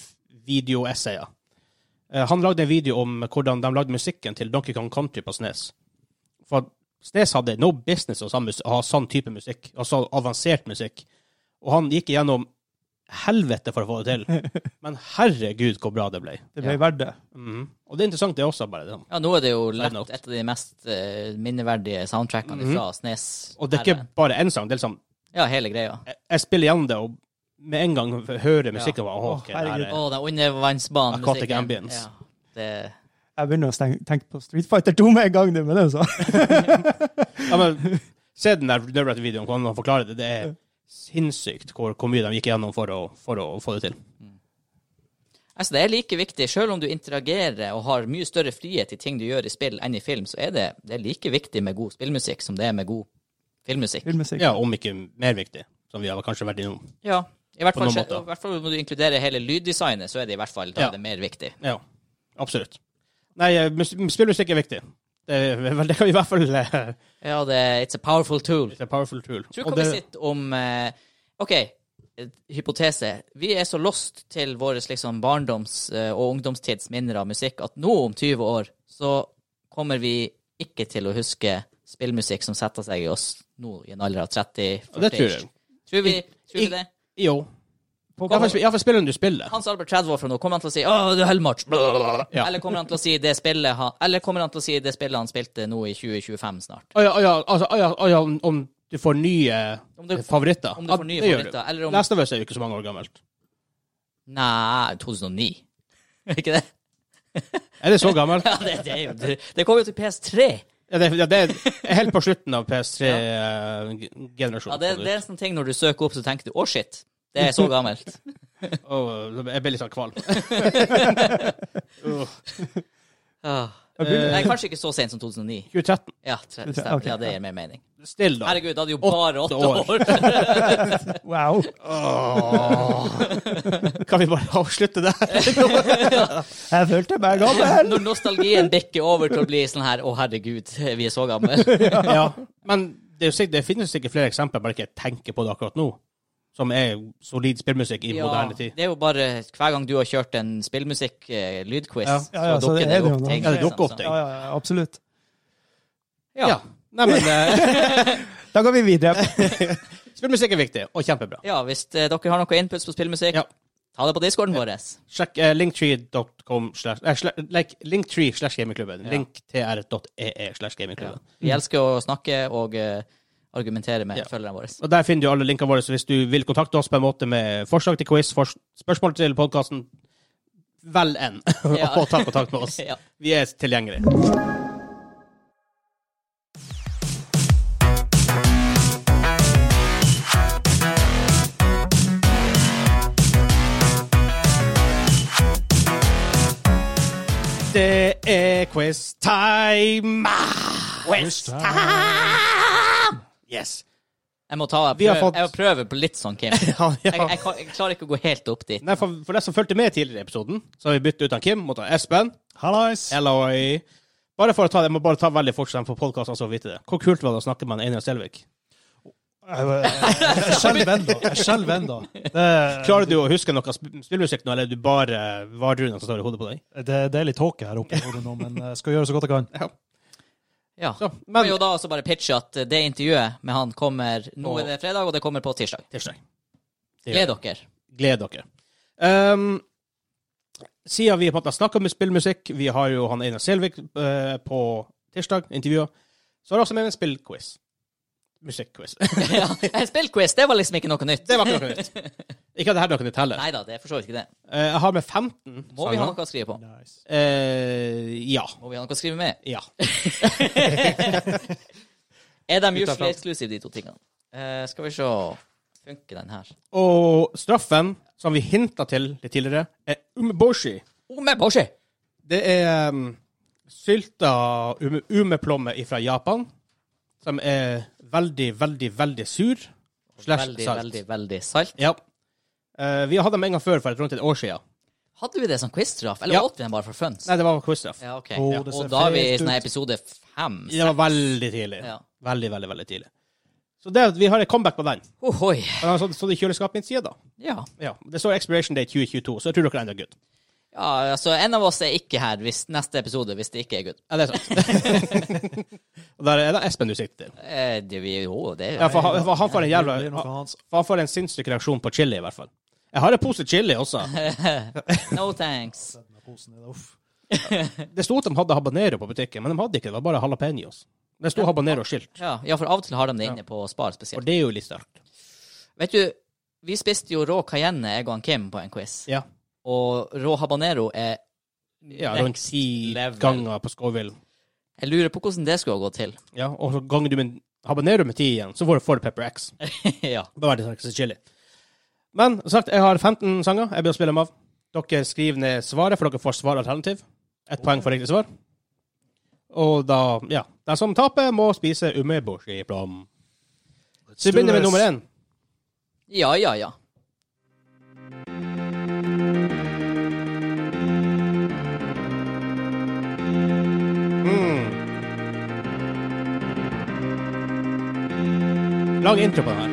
Speaker 2: videoessayer. Eh, Han lagde en video om hvordan de lagde musikken til Donkey Kong Country på Snes. For at Snes hadde no business å sam- å ha sånn type musikk, altså avansert musikk. Og han gikk igjennom helvete for å få det til. Men herregud, hvor bra det ble.
Speaker 1: Det ble verdt det.
Speaker 2: Mhm. Og det er sånn. interessant, det også. bare det.
Speaker 3: Ja, nå er det jo lett
Speaker 2: note.
Speaker 3: et av de mest eh, minneverdige soundtrackene
Speaker 2: Mhm.
Speaker 3: fra SNES.
Speaker 2: Og det er ikke bare én sang. det er liksom
Speaker 3: Ja, hele greia.
Speaker 2: jeg, jeg spiller igjen det, og med en gang hører musikken bare,
Speaker 1: Å,
Speaker 2: «Åh, ok, det her
Speaker 1: herregud.
Speaker 3: Å,
Speaker 2: er-
Speaker 3: den undervannsbanen.
Speaker 2: Aquatic
Speaker 3: musikken.
Speaker 2: ambience.
Speaker 3: Ja, det
Speaker 1: Jeg begynner å sten- tenke på Street Fighter 2 med en gang, nå, men det er jo sånn.
Speaker 2: ja, men, Se den der Nerdrat-videoen, hvordan han forklarer det. Det er sinnssykt hvor, hvor mye de gikk igjennom for å, for å få det til.
Speaker 3: Altså, det er like viktig, selv om du interagerer og har mye større frihet i ting du gjør i spill enn i film, så er det, det er like viktig med god spillmusikk som det er med god filmmusikk.
Speaker 1: Filmmusikk.
Speaker 2: Ja, Om ikke mer viktig, som vi har kanskje vært innom.
Speaker 3: Ja, i hvert
Speaker 2: På
Speaker 3: fall,
Speaker 2: noen
Speaker 3: skje-
Speaker 2: måter.
Speaker 3: i hvert fall når du inkluderer hele lyddesignet, så er det i hvert fall da
Speaker 2: Ja.
Speaker 3: det er mer viktig.
Speaker 2: Ja, absolutt. Nei, eh, mus- spillmusikk er viktig. Det, er vel, det kan vi i hvert fall eh,
Speaker 3: Ja, det, it's a powerful tool.
Speaker 2: It's a powerful tool.
Speaker 3: Tror
Speaker 2: Og
Speaker 3: kan
Speaker 2: det-
Speaker 3: vi sitte om eh, OK, eh, hypotese. Vi er så lost til vår liksom, barndoms- eh, og ungdomstids minner av musikk at nå, om 20 år, så kommer vi ikke til å huske spillmusikk som setter seg i oss nå i en alder av 30-40.
Speaker 2: og det tror jeg.
Speaker 3: Tror vi, tror vi
Speaker 2: I-
Speaker 3: det?
Speaker 2: Jo.
Speaker 1: På-
Speaker 2: Iallfall spiller du spiller.
Speaker 3: Hans Albert 30 år fra nå, kommer han til å si 'Å, det er Hellmarch'?
Speaker 2: Ja.
Speaker 3: Eller kommer han til å si det spillet han, eller kommer han til å si det spillet han spilte nå i 2025 snart?
Speaker 2: Å ja, å ja, altså, å ja, å ja, om, om du får nye
Speaker 3: Om du-
Speaker 2: Eh, favoritter.
Speaker 3: Om du
Speaker 2: Ja,
Speaker 3: får nye
Speaker 2: det gjør
Speaker 3: favoritter, eller
Speaker 2: du.
Speaker 3: om
Speaker 2: Last of Us er jo ikke så mange år gammelt.
Speaker 3: Nei, 2009. Er ikke det?
Speaker 2: Er det så gammelt?
Speaker 3: Ja, det, det, er jo- det, det kom jo til PS3.
Speaker 2: Ja, det, ja, det er helt på slutten av
Speaker 3: Ja,
Speaker 2: PS3-generasjonen.
Speaker 3: det, det er en sånn ting når du søker opp, så tenker du 'å, shit'. Det er så gammelt.
Speaker 2: jeg blir litt sånn kvalm. Åh.
Speaker 3: Ah.
Speaker 1: Jeg begynner-
Speaker 3: Nei, kanskje ikke så sent som 2009.
Speaker 2: 2013.
Speaker 3: Ja, tre- stemmer.
Speaker 1: Ok,
Speaker 3: ja det gir mer mening.
Speaker 2: Still, da.
Speaker 3: Herregud, da hadde jo bare åtte
Speaker 2: Åtte
Speaker 3: år.
Speaker 1: Wow.
Speaker 2: Åh. Kan vi bare avslutte der?
Speaker 1: Jeg følte meg gammel.
Speaker 3: Når nostalgien bikker over til å bli sånn her 'å, herregud, vi er så gamle'.
Speaker 2: ja. Men det, er jo sikkert, det finnes sikkert flere eksempler, bare ikke jeg tenker på det akkurat nå, som er solid spillmusikk i
Speaker 3: Ja,
Speaker 2: moderne tid.
Speaker 3: det er jo bare hver gang du har kjørt en spillmusikk-lydquiz,
Speaker 2: Ja.
Speaker 1: Ja, ja,
Speaker 3: så
Speaker 1: så det
Speaker 3: dukker
Speaker 1: er
Speaker 3: det
Speaker 1: det jo
Speaker 3: opp ting.
Speaker 1: noe.
Speaker 2: Ja, det dukker opp
Speaker 3: liksom,
Speaker 2: ting.
Speaker 1: Ja, ja, ja, absolutt.
Speaker 3: så- Ja.
Speaker 2: Ja. Nei, men eh,
Speaker 1: Da går vi videre.
Speaker 2: spillmusikk er viktig, og kjempebra.
Speaker 3: ja, hvis eh, dere har noe inputs på spillmusikk,
Speaker 2: Ja.
Speaker 3: ta det på discorden vår.
Speaker 2: Sjekk eh, linktree.com slash eh, sla- like, Linktree slash gamingklubben.
Speaker 3: Ja.
Speaker 2: Linktr.ee E slash gamingklubben.
Speaker 3: Vi elsker å snakke og eh, argumentere med
Speaker 2: Ja.
Speaker 3: følgerne våre.
Speaker 2: Og Der finner du alle linkene våre, så hvis du vil kontakte oss på en måte med forslag til quiz, fors spørsmål til podkasten, vel enn
Speaker 3: Ja.
Speaker 2: og ta kontakt med oss.
Speaker 3: Ja.
Speaker 2: Vi er tilgjengelige. Det er quiz time! Quiz time! Yes.
Speaker 3: Jeg må ta jeg
Speaker 2: Vi har
Speaker 3: prøver,
Speaker 2: fått-
Speaker 3: jeg prøver på litt sånn, Kim. Jeg,
Speaker 2: Ja, ja.
Speaker 3: jeg, kan- jeg klarer ikke å gå helt opp dit.
Speaker 2: Nei, for, for deg som fulgte med tidligere i episoden, så har vi byttet ut han Kim mot han Espen.
Speaker 4: Hallais!
Speaker 2: Eller Bare for å ta det, jeg må bare ta veldig fort, så de på podkasten så vite det. Hvor kult var det å snakke med han Einar Selvik?
Speaker 4: Jeg skjelver ennå. Jeg skjelver ennå. Det,
Speaker 2: Klarer du å huske noe sp spillmusikk nå, eller er du bare vardruna som står i hodet på deg?
Speaker 4: det, det er litt tåke her oppe i hodet nå, men jeg skal gjøre så godt jeg kan.
Speaker 3: Ja.
Speaker 2: Så,
Speaker 3: Men,
Speaker 2: men
Speaker 3: jo da også bare pitche at eh, det intervjuet med han kommer nå er det fredag, og det kommer på tirsdag.
Speaker 2: tirsdag. Det gjør
Speaker 3: Gled dere.
Speaker 2: Gled dere. Ehm, siden vi på en måte har snakket om spillmusikk, vi har jo han Einar Selvik eh, på tirsdag, intervjuet, så har jeg også med en spillquiz. Musikkquiz.
Speaker 3: ja. Spillquiz, det var liksom ikke noe nytt.
Speaker 2: Det var ikke noe nytt. Ikke at det her er noe nytt heller.
Speaker 3: Nei da, det er for så vidt ikke det.
Speaker 2: Eh, jeg har med 15
Speaker 3: Må vi ha noe å skrive på?
Speaker 4: Nice.
Speaker 2: Eh, ja.
Speaker 3: Må vi ha noe å skrive med?
Speaker 2: Ja.
Speaker 3: Er de
Speaker 2: Utenfor.
Speaker 3: usually exclusive, de to tingene? Eh, skal vi se Funker den her?
Speaker 2: Og straffen, som vi hintet til litt tidligere, er umeboshi.
Speaker 3: Umeboshi!
Speaker 2: Det er um, sylta ume, umeplomme fra Japan, som er veldig, veldig, veldig sur. Slash
Speaker 3: Veldig,
Speaker 2: salt.
Speaker 3: veldig, veldig salt.
Speaker 2: Ja. Eh, vi hadde dem en gang før, for rundt et år siden.
Speaker 3: Hadde vi det som quiz-straff, eller
Speaker 2: Ja.
Speaker 3: åt vi den bare for funs?
Speaker 2: Nei, det var quizstraff.
Speaker 3: Ja, ok.
Speaker 4: Å,
Speaker 2: ja.
Speaker 4: det
Speaker 3: Og
Speaker 4: ser
Speaker 3: da er vi i
Speaker 4: fett
Speaker 3: sånn her
Speaker 4: ut.
Speaker 3: episode fem.
Speaker 2: Det var veldig tidlig.
Speaker 3: Ja.
Speaker 2: Veldig, veldig, veldig tidlig. Så det, vi har et comeback på den.
Speaker 3: Ohoi.
Speaker 2: Den har stått- stått i kjøleskapet min side, da.
Speaker 3: Ja.
Speaker 2: Ja. Det står expiration date 2022, så jeg tror dere er enda good.
Speaker 3: ja, altså en av oss er ikke her hvis, neste episode hvis det ikke er good.
Speaker 2: Ja, det er sant. Og der er det Espen du sikter til.
Speaker 3: Eh, det, vi, jo, det
Speaker 2: Ja, for han, for han får en
Speaker 4: Det
Speaker 2: jævla
Speaker 4: blir noe hans.
Speaker 2: for Han får en sinnssyk reaksjon på chili, i hvert fall. Jeg har en pose chili også.
Speaker 3: No thanks.
Speaker 4: Sett meg posen i det, uff.
Speaker 2: Det sto at de hadde habanero på butikken, men de hadde ikke det. Det var bare jalapeños. Det sto habanero-skilt,
Speaker 3: Ja, ja, for av og til har de det inne på Spar
Speaker 2: og
Speaker 3: spesielt.
Speaker 2: det er jo litt sterkt.
Speaker 3: Vet du, vi spiste jo rå cayenne, jeg og han Kim, på en quiz.
Speaker 2: Ja.
Speaker 3: Og rå habanero er
Speaker 2: ja rundt
Speaker 3: Next
Speaker 2: ti
Speaker 3: level.
Speaker 2: ganger på Scoville.
Speaker 3: Jeg lurer på hvordan det skulle ha gått til.
Speaker 2: Ja, og så ganger du med habanero med ti igjen, så får du får du pepper x.
Speaker 3: ja.
Speaker 2: Det var det sterkeste chili. Men som sagt, jeg har 15 sanger jeg bør spille dem av. Dere skriver ned svaret, for dere får svaralternativ. Ett poeng for riktig svar. Og da, ja Den som taper, må spise umeboshi-plom. Så vi begynner med nummer én.
Speaker 3: Ja, ja, ja.
Speaker 2: Mm. Lag intro på den her.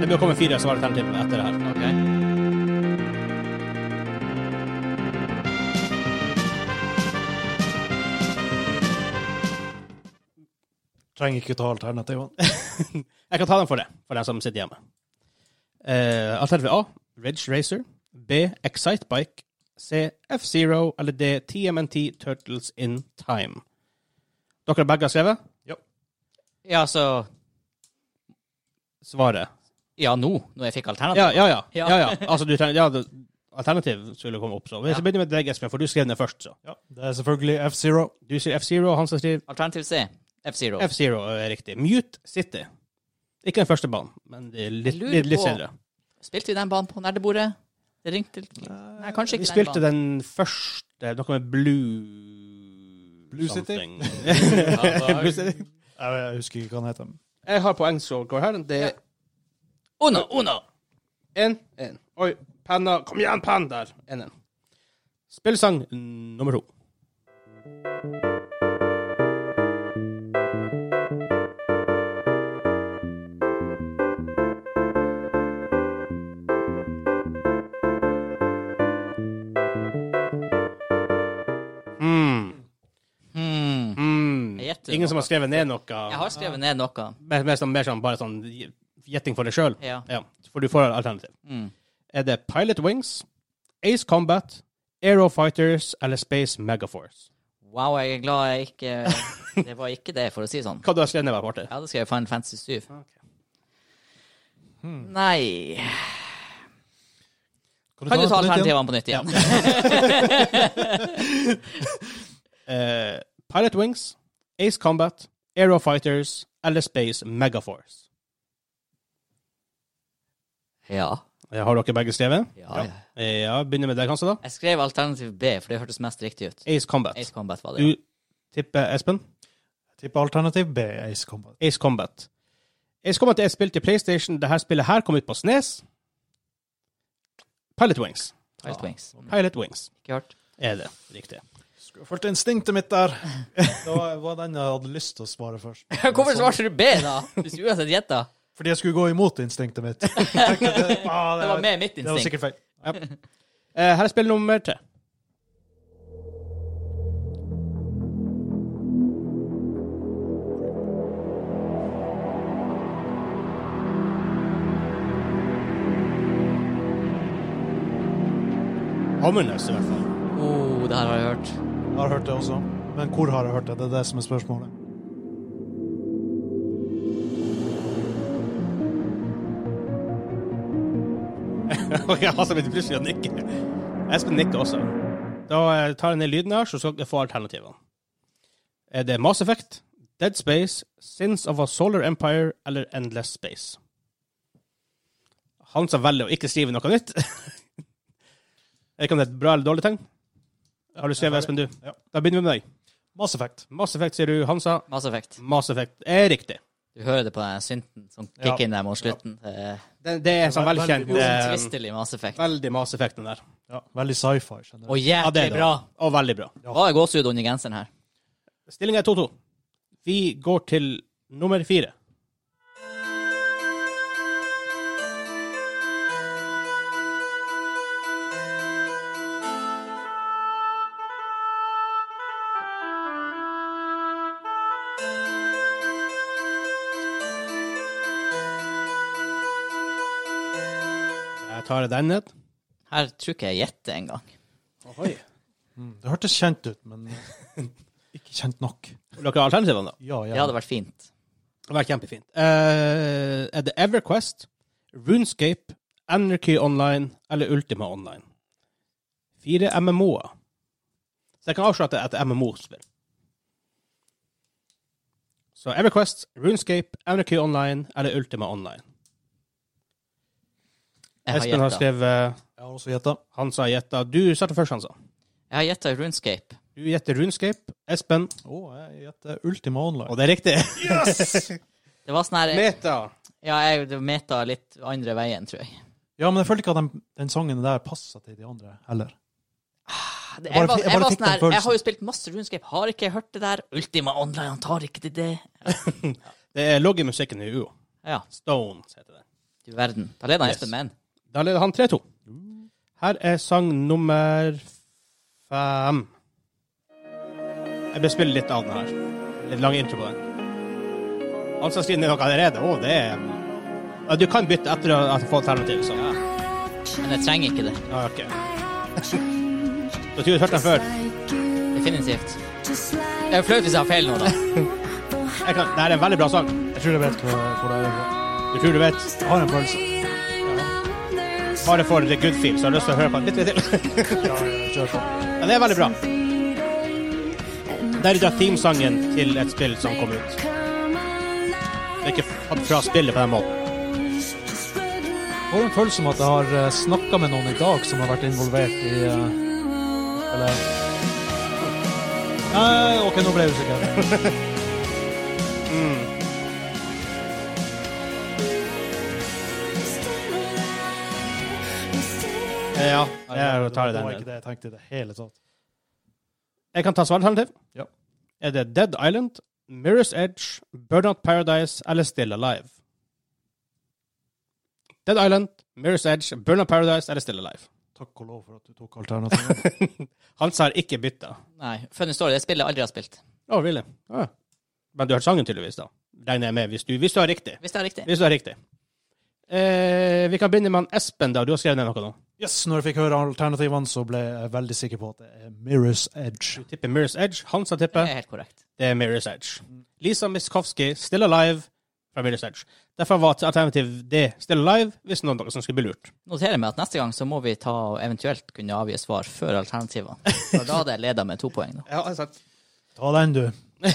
Speaker 2: Det bør komme fire svaralternativer etter det her.
Speaker 3: Ok.
Speaker 4: Trenger ikke ta alternativene.
Speaker 2: Jeg kan ta den for det, for den som sitter hjemme. Eh, alternativ A, Ridge Racer. B, Excite Bike. C, F-Zero. Eller D, TMNT Turtles in Time. Dere begge har skrevet?
Speaker 3: Ja, så
Speaker 2: Svaret.
Speaker 3: Ja, nå, når jeg fikk alternativ.
Speaker 2: Ja, ja, ja.
Speaker 3: Ja.
Speaker 2: ja, ja. Altså, du trenger, ja det, alternativ skulle komme opp, så. Vi
Speaker 3: Ja.
Speaker 2: begynner med deg, Espen, for du skrev den først, så.
Speaker 4: Ja, det er selvfølgelig F-Zero.
Speaker 2: Du sier F-Zero, han som skriver
Speaker 3: Alternativ C. F-Zero.
Speaker 2: F-Zero er riktig. Mute City. Ikke den første banen, men det er litt,
Speaker 3: Jeg lurer
Speaker 2: litt, litt
Speaker 3: på-
Speaker 2: senere.
Speaker 3: Spilte vi den banen på nerdebordet? Det ringte litt Nei, kanskje
Speaker 2: Vi
Speaker 3: ikke
Speaker 2: spilte
Speaker 3: den
Speaker 2: den første, noe med Blue
Speaker 4: Blue City?
Speaker 2: something.
Speaker 3: banen.
Speaker 2: Blue City.
Speaker 4: Jeg, jeg husker ikke hva han heter.
Speaker 2: Jeg har poengscore her. Det er
Speaker 3: Uno, uno.
Speaker 2: én, én. Oi, penna. Kom igjen, penn der! Én, én. Spillsang nummer to. Mm.
Speaker 3: Hmm.
Speaker 2: Mm.
Speaker 3: Jeg gjetter
Speaker 2: Ingen som
Speaker 3: noe.
Speaker 2: har skrevet ned noe?
Speaker 3: Jeg har skrevet ned noe.
Speaker 2: Mer, mer, sånn, mer sånn bare sånn gjetting for deg sjøl?
Speaker 3: Ja.
Speaker 2: For du får et alternativ.
Speaker 3: Mm.
Speaker 2: Er det Pilot Wings, Ace Combat, Aero Fighters eller Space Megaforce?
Speaker 3: Wow, jeg er glad jeg ikke Det var ikke det, for å si det sånn.
Speaker 2: Hva du har skrevet ned, Marte?
Speaker 3: Jeg hadde skrevet Final Fantasy 7. Hmm. Nei Kan du ta alternativene på nytt igjen?
Speaker 2: Eh, Pilot Wings, Ace Combat, Aero Fighters eller Space Megaforce?
Speaker 3: Ja.
Speaker 2: Ja, har dere begge skrevet?
Speaker 3: Ja, ja.
Speaker 2: Eh, ja begynner med deg, kanskje, da.
Speaker 3: Jeg skrev alternativ B, for det hørtes mest riktig ut.
Speaker 2: Ace Combat.
Speaker 3: Ace Combat var det.
Speaker 2: Du tipper Espen?
Speaker 4: Tipper alternativ B, Ace Combat.
Speaker 2: Ace Combat. Ace Combat er et spill til PlayStation. Dette spillet her kom ut på Snes. Pilot Wings.
Speaker 3: Wild Wings.
Speaker 2: Pilot Wings
Speaker 3: Ikke hørt.
Speaker 2: er det riktig.
Speaker 4: Skulle fulgt instinktet mitt der. Det var, var den jeg hadde lyst til å svare først.
Speaker 3: Hvorfor svarte du B, da? Hvis du uansett gjetta.
Speaker 4: Fordi jeg skulle gå imot instinktet mitt. Jeg tenkte, ah,
Speaker 3: Det var med mitt
Speaker 4: Det var
Speaker 3: instinkt.
Speaker 4: sikkert feil.
Speaker 2: Eh, her er spill nummer tre. Ominous, i hvert fall.
Speaker 3: Oh, det her har jeg hørt.
Speaker 4: Jeg har hørt det også. Men hvor har jeg hørt det? Det er det som er spørsmålet.
Speaker 2: Og jeg haster meg til plutselig å altså, nikke. Espen nikker også. Da eh, tar jeg ned lyden her, så skal dere få alternativene. Er det Mass Effect, Dead Space, Sins of a Solar Empire eller Endless Space? Han som velger å ikke skrive noe nytt. Jeg vet ikke om det er et bra eller dårlig tegn. Har du skrevet, Espen, du?
Speaker 4: Ja.
Speaker 2: Da begynner vi med deg.
Speaker 4: Mass Effect.
Speaker 2: Mass Effect, sier du, Hansa.
Speaker 3: Mass Effect.
Speaker 2: Mass Effect er riktig.
Speaker 3: Du hører det på den synten som
Speaker 4: Ja.
Speaker 3: kicker inn der mot slutten. Det
Speaker 2: Det, det er en sånn
Speaker 4: Veldig
Speaker 2: velkjent
Speaker 4: god.
Speaker 3: er
Speaker 2: eh,
Speaker 3: Uomtvistelig Mass Effect.
Speaker 2: Veldig Mass Effect, den der.
Speaker 4: Ja, veldig sci-fi. generelt.
Speaker 3: Og
Speaker 2: Ja, det
Speaker 3: jævlig
Speaker 2: er det.
Speaker 3: bra.
Speaker 2: Og veldig bra.
Speaker 3: Hva er gåsehud under genseren her?
Speaker 2: Stillinga er 2-2. Vi går til nummer fire. Jeg tar den ned.
Speaker 3: Her tror ikke jeg gjetter engang.
Speaker 2: Ohoi.
Speaker 4: Mm. Det hørtes kjent ut, men ikke kjent nok.
Speaker 2: Vil dere ha alternativene, da?
Speaker 4: Ja,
Speaker 3: Det
Speaker 4: ja.
Speaker 3: hadde vært fint.
Speaker 2: Det var kjempefint. Eh, er det Everquest, Runescape, Anarchy Online eller Ultima Online? Fire MMO-er. Så jeg kan avsløre at det er et MMO-spill. Så Everquest, Runescape, Anarchy Online eller Ultima Online.
Speaker 3: Jeg
Speaker 2: Espen har
Speaker 3: har gjetta.
Speaker 2: skrevet
Speaker 4: Jeg har også gjetta.
Speaker 2: Hansa gjetta. Du starter først, Hansa.
Speaker 3: Jeg har gjetta Runescape.
Speaker 2: Du gjetter Runescape. Espen.
Speaker 4: Å, jeg gjetter Ultima Online.
Speaker 2: Og det er riktig.
Speaker 3: Det var sånn her
Speaker 2: Meta.
Speaker 3: Ja, jeg det meta litt andre veien, tror jeg.
Speaker 4: Ja, men jeg følte ikke at den, den sangen der passa til de andre heller.
Speaker 3: Jeg,
Speaker 4: bare
Speaker 3: var,
Speaker 4: fikk- jeg
Speaker 3: jeg,
Speaker 4: bare
Speaker 3: var
Speaker 4: fikk
Speaker 3: sånn
Speaker 4: den
Speaker 3: her, jeg
Speaker 4: følelsen.
Speaker 3: har jo spilt masse Runescape, har ikke jeg hørt det der? Ultima Online, han tar ikke til det.
Speaker 2: Det er loggemusikken i UO.
Speaker 3: Ja,
Speaker 2: Stones heter det.
Speaker 3: du verden. Da leder han
Speaker 2: Yes.
Speaker 3: Espen med en.
Speaker 2: Da leder han 3-2. Her er sang nummer fem. Jeg bør spille litt av den her. Litt lang intro på den. Han som skriver ned noe allerede, å, det er ja, Du kan bytte etter å- at du får alternativ, så. Ja,
Speaker 3: Men jeg trenger ikke det.
Speaker 2: OK. Så tror jeg du hørte den før.
Speaker 3: Definitivt. Det er jo flaut hvis jeg har feil nå, da.
Speaker 2: Jeg kan, det er en veldig bra sang.
Speaker 4: Jeg tror jeg vet hvor, hvor det er.
Speaker 2: Du tror du vet.
Speaker 4: eh, Jeg har en følelse.
Speaker 2: Bare for the good feel, så har jeg lyst til å høre på den litt til.
Speaker 4: Ja, jeg kjører på.
Speaker 2: Ja, det er veldig bra. Der er da themesangen til et spill som kom ut. Det er ikke f- fra spillet på den måten.
Speaker 4: Jeg får en følelse om at jeg har snakka med noen i dag som har vært involvert i eh, Eller Nei, OK, nå ble jeg usikker.
Speaker 2: Ja, jeg tar
Speaker 4: Det
Speaker 2: den.
Speaker 4: var ikke det jeg tenkte i det hele tatt.
Speaker 2: Jeg kan ta svaralternativ.
Speaker 4: Ja.
Speaker 2: Er det Dead Island, Mirror's Edge, Burnout Paradise eller Still Alive? Dead Island, Mirror's Edge, Burnout Paradise eller Still Alive?
Speaker 4: Takk og lov for at du tok alternativet.
Speaker 2: Hans har ikke bytta.
Speaker 3: Nei. Funny story, det spillet jeg aldri har spilt.
Speaker 2: Å, really? Ja. Men du har hørt sangen tydeligvis, da. Regner jeg med, hvis du, hvis du har riktig.
Speaker 3: Hvis det er riktig.
Speaker 2: Hvis du har riktig. Eh, vi kan begynne med han Espen, da. Du har skrevet ned noe nå.
Speaker 4: Yes, når jeg fikk høre alternativene, så ble jeg veldig sikker på at det er Mirror's Edge.
Speaker 2: Du tipper Mirror's Edge. Hansa
Speaker 3: Det
Speaker 2: tipper
Speaker 3: er helt korrekt.
Speaker 2: det er Mirror's Edge. Lisa Miskovsky, Still Alive fra Mirror's Edge. Derfor var alternativ D Still Alive, hvis noen av dere som skulle bli lurt.
Speaker 3: Noterer meg at neste gang så må vi ta og eventuelt kunne avgi svar før alternativene. For da hadde jeg leda med to poeng. nå.
Speaker 2: Ja, sant.
Speaker 4: Ta den, du.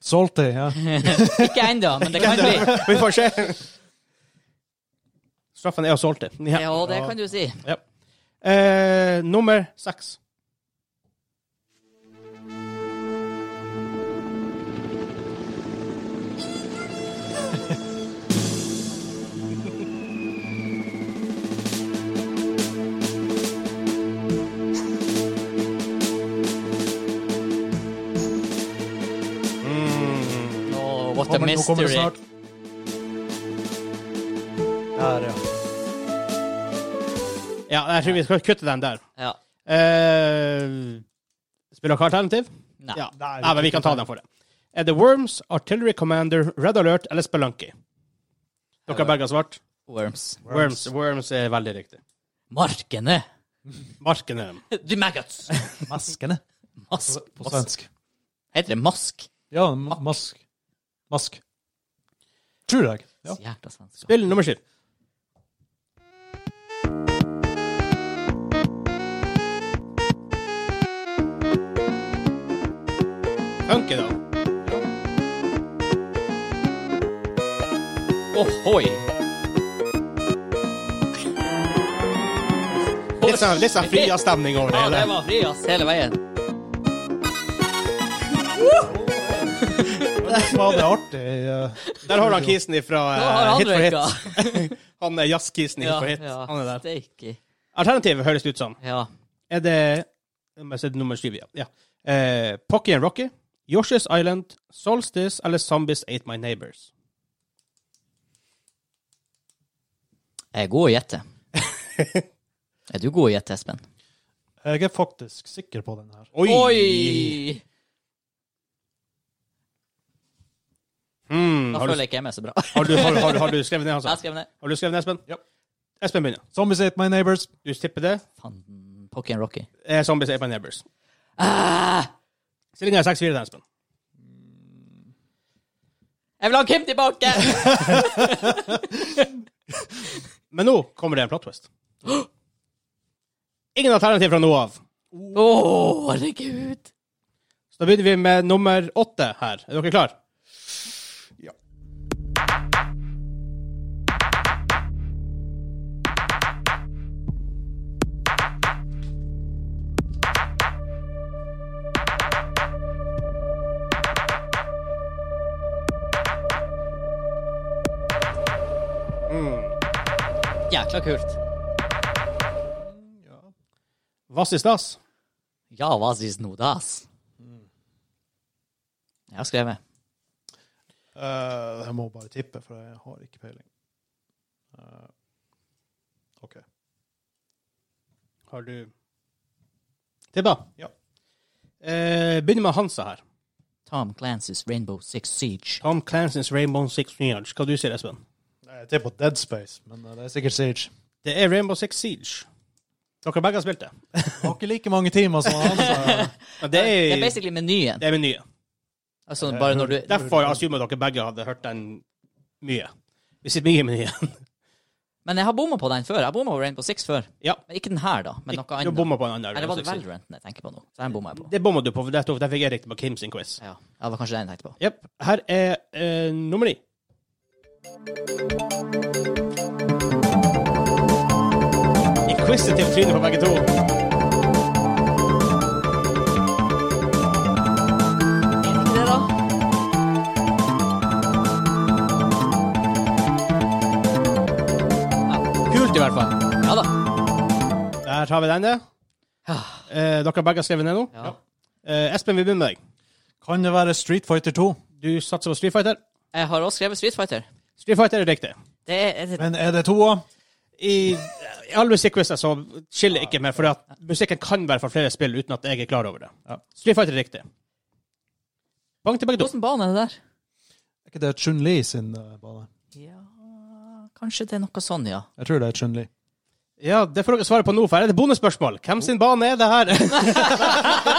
Speaker 4: Salty. Ja.
Speaker 3: Ikke ennå, men det kan bli.
Speaker 2: Vi får se. Straffen er å solte. Ja.
Speaker 3: Ja, det kan du si.
Speaker 2: Eh, nummer seks. Mm.
Speaker 3: Oh, what a
Speaker 4: Kommer, nå kommer det
Speaker 3: mystery.
Speaker 4: snart. Der, ja.
Speaker 2: Ja, jeg tror vi skal kutte den der.
Speaker 3: Ja.
Speaker 2: Eh, spiller dere alternativ?
Speaker 3: Nei.
Speaker 2: Ja.
Speaker 4: Nei, vi
Speaker 2: Nei, men vi kan ta den for det. Er det Worms, Artillery Commander, Red Alert eller Spelunky? Eh, Dere har begge svart.
Speaker 3: Worms.
Speaker 2: Worms. Worms er veldig riktig.
Speaker 3: Markene.
Speaker 2: Markene.
Speaker 3: Du maggots!
Speaker 4: Maskene,
Speaker 3: Mask.
Speaker 4: på svensk.
Speaker 3: Heter det mask?
Speaker 4: Ja, ma- mask. Mask. Tror jeg. Ja.
Speaker 3: Jævla svensk.
Speaker 2: Spill nummer syv. Funky, da.
Speaker 3: Ohoi!
Speaker 2: Litt sånn, litt sånn fria stemning over det
Speaker 3: Ja, det
Speaker 2: hele.
Speaker 3: var fri, ass, hele veien.
Speaker 4: Var det artig? eh,
Speaker 2: Der har du han kisen ifra
Speaker 3: Nå har
Speaker 2: eh,
Speaker 3: han
Speaker 2: Hit for Hit.
Speaker 3: røyka.
Speaker 2: Han er jazzkisen
Speaker 3: Ja,
Speaker 2: hit for hit.
Speaker 3: ja,
Speaker 2: Han er der.
Speaker 3: Steiki.
Speaker 2: Alternativet høres ut som
Speaker 3: Ja.
Speaker 2: Er det Om jeg ser nummer syv, ja. ja. Eh, Pocky and Rocky, Yoshi's Island, Solstice eller Zombies Ate My Neighbors.
Speaker 3: Jeg er god å gjette. Er du god å gjette, Espen?
Speaker 4: Jeg er faktisk sikker på den her.
Speaker 3: Oi!
Speaker 2: Hmm,
Speaker 3: Da
Speaker 2: har, du,
Speaker 3: føler jeg ikke jeg meg så bra. Jeg
Speaker 2: har, du, har, har, har du skrevet ned, altså? Hansa?
Speaker 3: skrev ned
Speaker 2: Har du skrevet ned, Espen?
Speaker 4: Ja.
Speaker 2: Espen begynner.
Speaker 4: Zombies ate my neighbors.
Speaker 2: Du tipper det.
Speaker 3: Fanden, Pocky and Rocky.
Speaker 2: Eh, zombies Ate My Neighbors.
Speaker 3: Ah,
Speaker 2: Stillinga er 6-4 til Espen.
Speaker 3: jeg vil ha Kim tilbake!
Speaker 2: Men nå kommer det en plot twist. Ingen alternativ fra nå av.
Speaker 3: Å, herregud.
Speaker 2: Så da begynner vi med nummer åtte her. Er dere klare? Ja.
Speaker 3: Jækla kult.
Speaker 2: Vass i stas.
Speaker 3: Ja, hva sies nå, da, ass? Jeg har skrevet.
Speaker 4: Eh, jeg må bare tippe, for jeg har ikke peiling. Eh, OK.
Speaker 2: Har du Tippa?
Speaker 4: Ja.
Speaker 2: Eh, begynner med Hansa her.
Speaker 3: Tom Clancy's Rainbow Six Siege.
Speaker 2: Tom Clansons Rainbow Six Siege. Hva du sier Espen?
Speaker 4: Nei, Jeg tipper på Dead Space, men eh, det er sikkert Siege.
Speaker 2: Det er Rainbow Six Siege. Dere begge har spilt det.
Speaker 4: Jeg har ikke like mange timer som han. så-
Speaker 2: Men det
Speaker 3: Eh, Det er
Speaker 2: er,
Speaker 3: basically menyen.
Speaker 2: det er menyen.
Speaker 3: Altså, bare når du
Speaker 2: Derfor assumer dere begge hadde hørt den mye. Vi sitter mye i menyen.
Speaker 3: Men jeg har bomma på den før. Jeg har bomma på Rainbow Six før.
Speaker 2: Ja.
Speaker 3: Men ikke den her, da. Men noe
Speaker 2: Du
Speaker 3: annet.
Speaker 2: bomma på en annen.
Speaker 3: Eller var det
Speaker 2: Rainbow Six Siege.
Speaker 3: Valorant jeg tenker på nå? Så den bomma jeg på.
Speaker 2: Det bomma du på, for det der fikk jeg riktig på Kim sin quiz.
Speaker 3: Ja, ja det var kanskje den jeg tenkte på.
Speaker 2: Jepp. Her er eh, nummer ni. I quizet til trynet på begge to.
Speaker 3: Det da?
Speaker 2: Kult, i hvert fall.
Speaker 3: Ja da.
Speaker 2: Der har vi den, ja. Eh, dere har begge skrevet ned nå?
Speaker 3: Ah. Ja.
Speaker 2: Eh, Espen, vi begynner med deg.
Speaker 4: Kan det være Street Fighter 2?
Speaker 2: Du satser på Street Fighter.
Speaker 3: Jeg har også skrevet Street Fighter.
Speaker 2: Street Fighter er riktig.
Speaker 3: Det er, er det,
Speaker 4: Men er det toa?
Speaker 2: I, i alle musikkquizer så skiller jeg ikke mer, for at musikken kan være fra flere spill uten at jeg er klar over det.
Speaker 4: Ja.
Speaker 2: Street Fighter er riktig. Bang til begge to.
Speaker 3: Hvordan bane er det der?
Speaker 4: Er ikke det Chun-Li sin eh, bane?
Speaker 3: Ja Kanskje det er noe sånn, ja.
Speaker 4: Jeg tror det er Chun-Li.
Speaker 2: Ja, det får dere svare på nå, for her er det bonusspørsmål. Hvem sin bane er det her?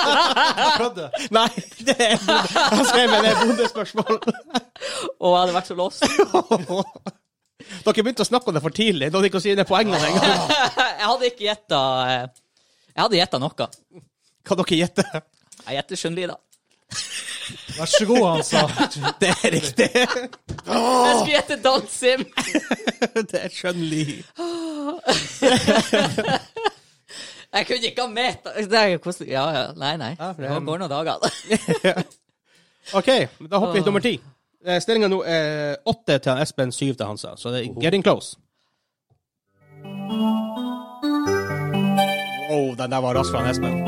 Speaker 2: Nei, det er Altså, Jeg skrev med det er bonusspørsmål.
Speaker 3: Å, jeg hadde vært så låst.
Speaker 2: Dere begynte å snakke om det for tidlig. Da hadde ikke å si ned poengene engang.
Speaker 3: Jeg hadde ikke gjetta Jeg hadde gjetta noe.
Speaker 2: Hva dere gjetter.
Speaker 3: Jeg gjetter Chun-Li, da.
Speaker 4: Vær så god, han sa.
Speaker 2: Det er riktig.
Speaker 3: Jeg skulle gjette Don Sim.
Speaker 2: Det er skjønnlig.
Speaker 3: Jeg kunne ikke ha med Det er jo koselig. Ja, ja. Nei, nei. Det går noen dager.
Speaker 2: OK, da hopper vi til nummer ti. Stillinga nå er åtte til han Espen, syv til Hansa. Så det er getting close. Wow, den der var rask fra han Espen.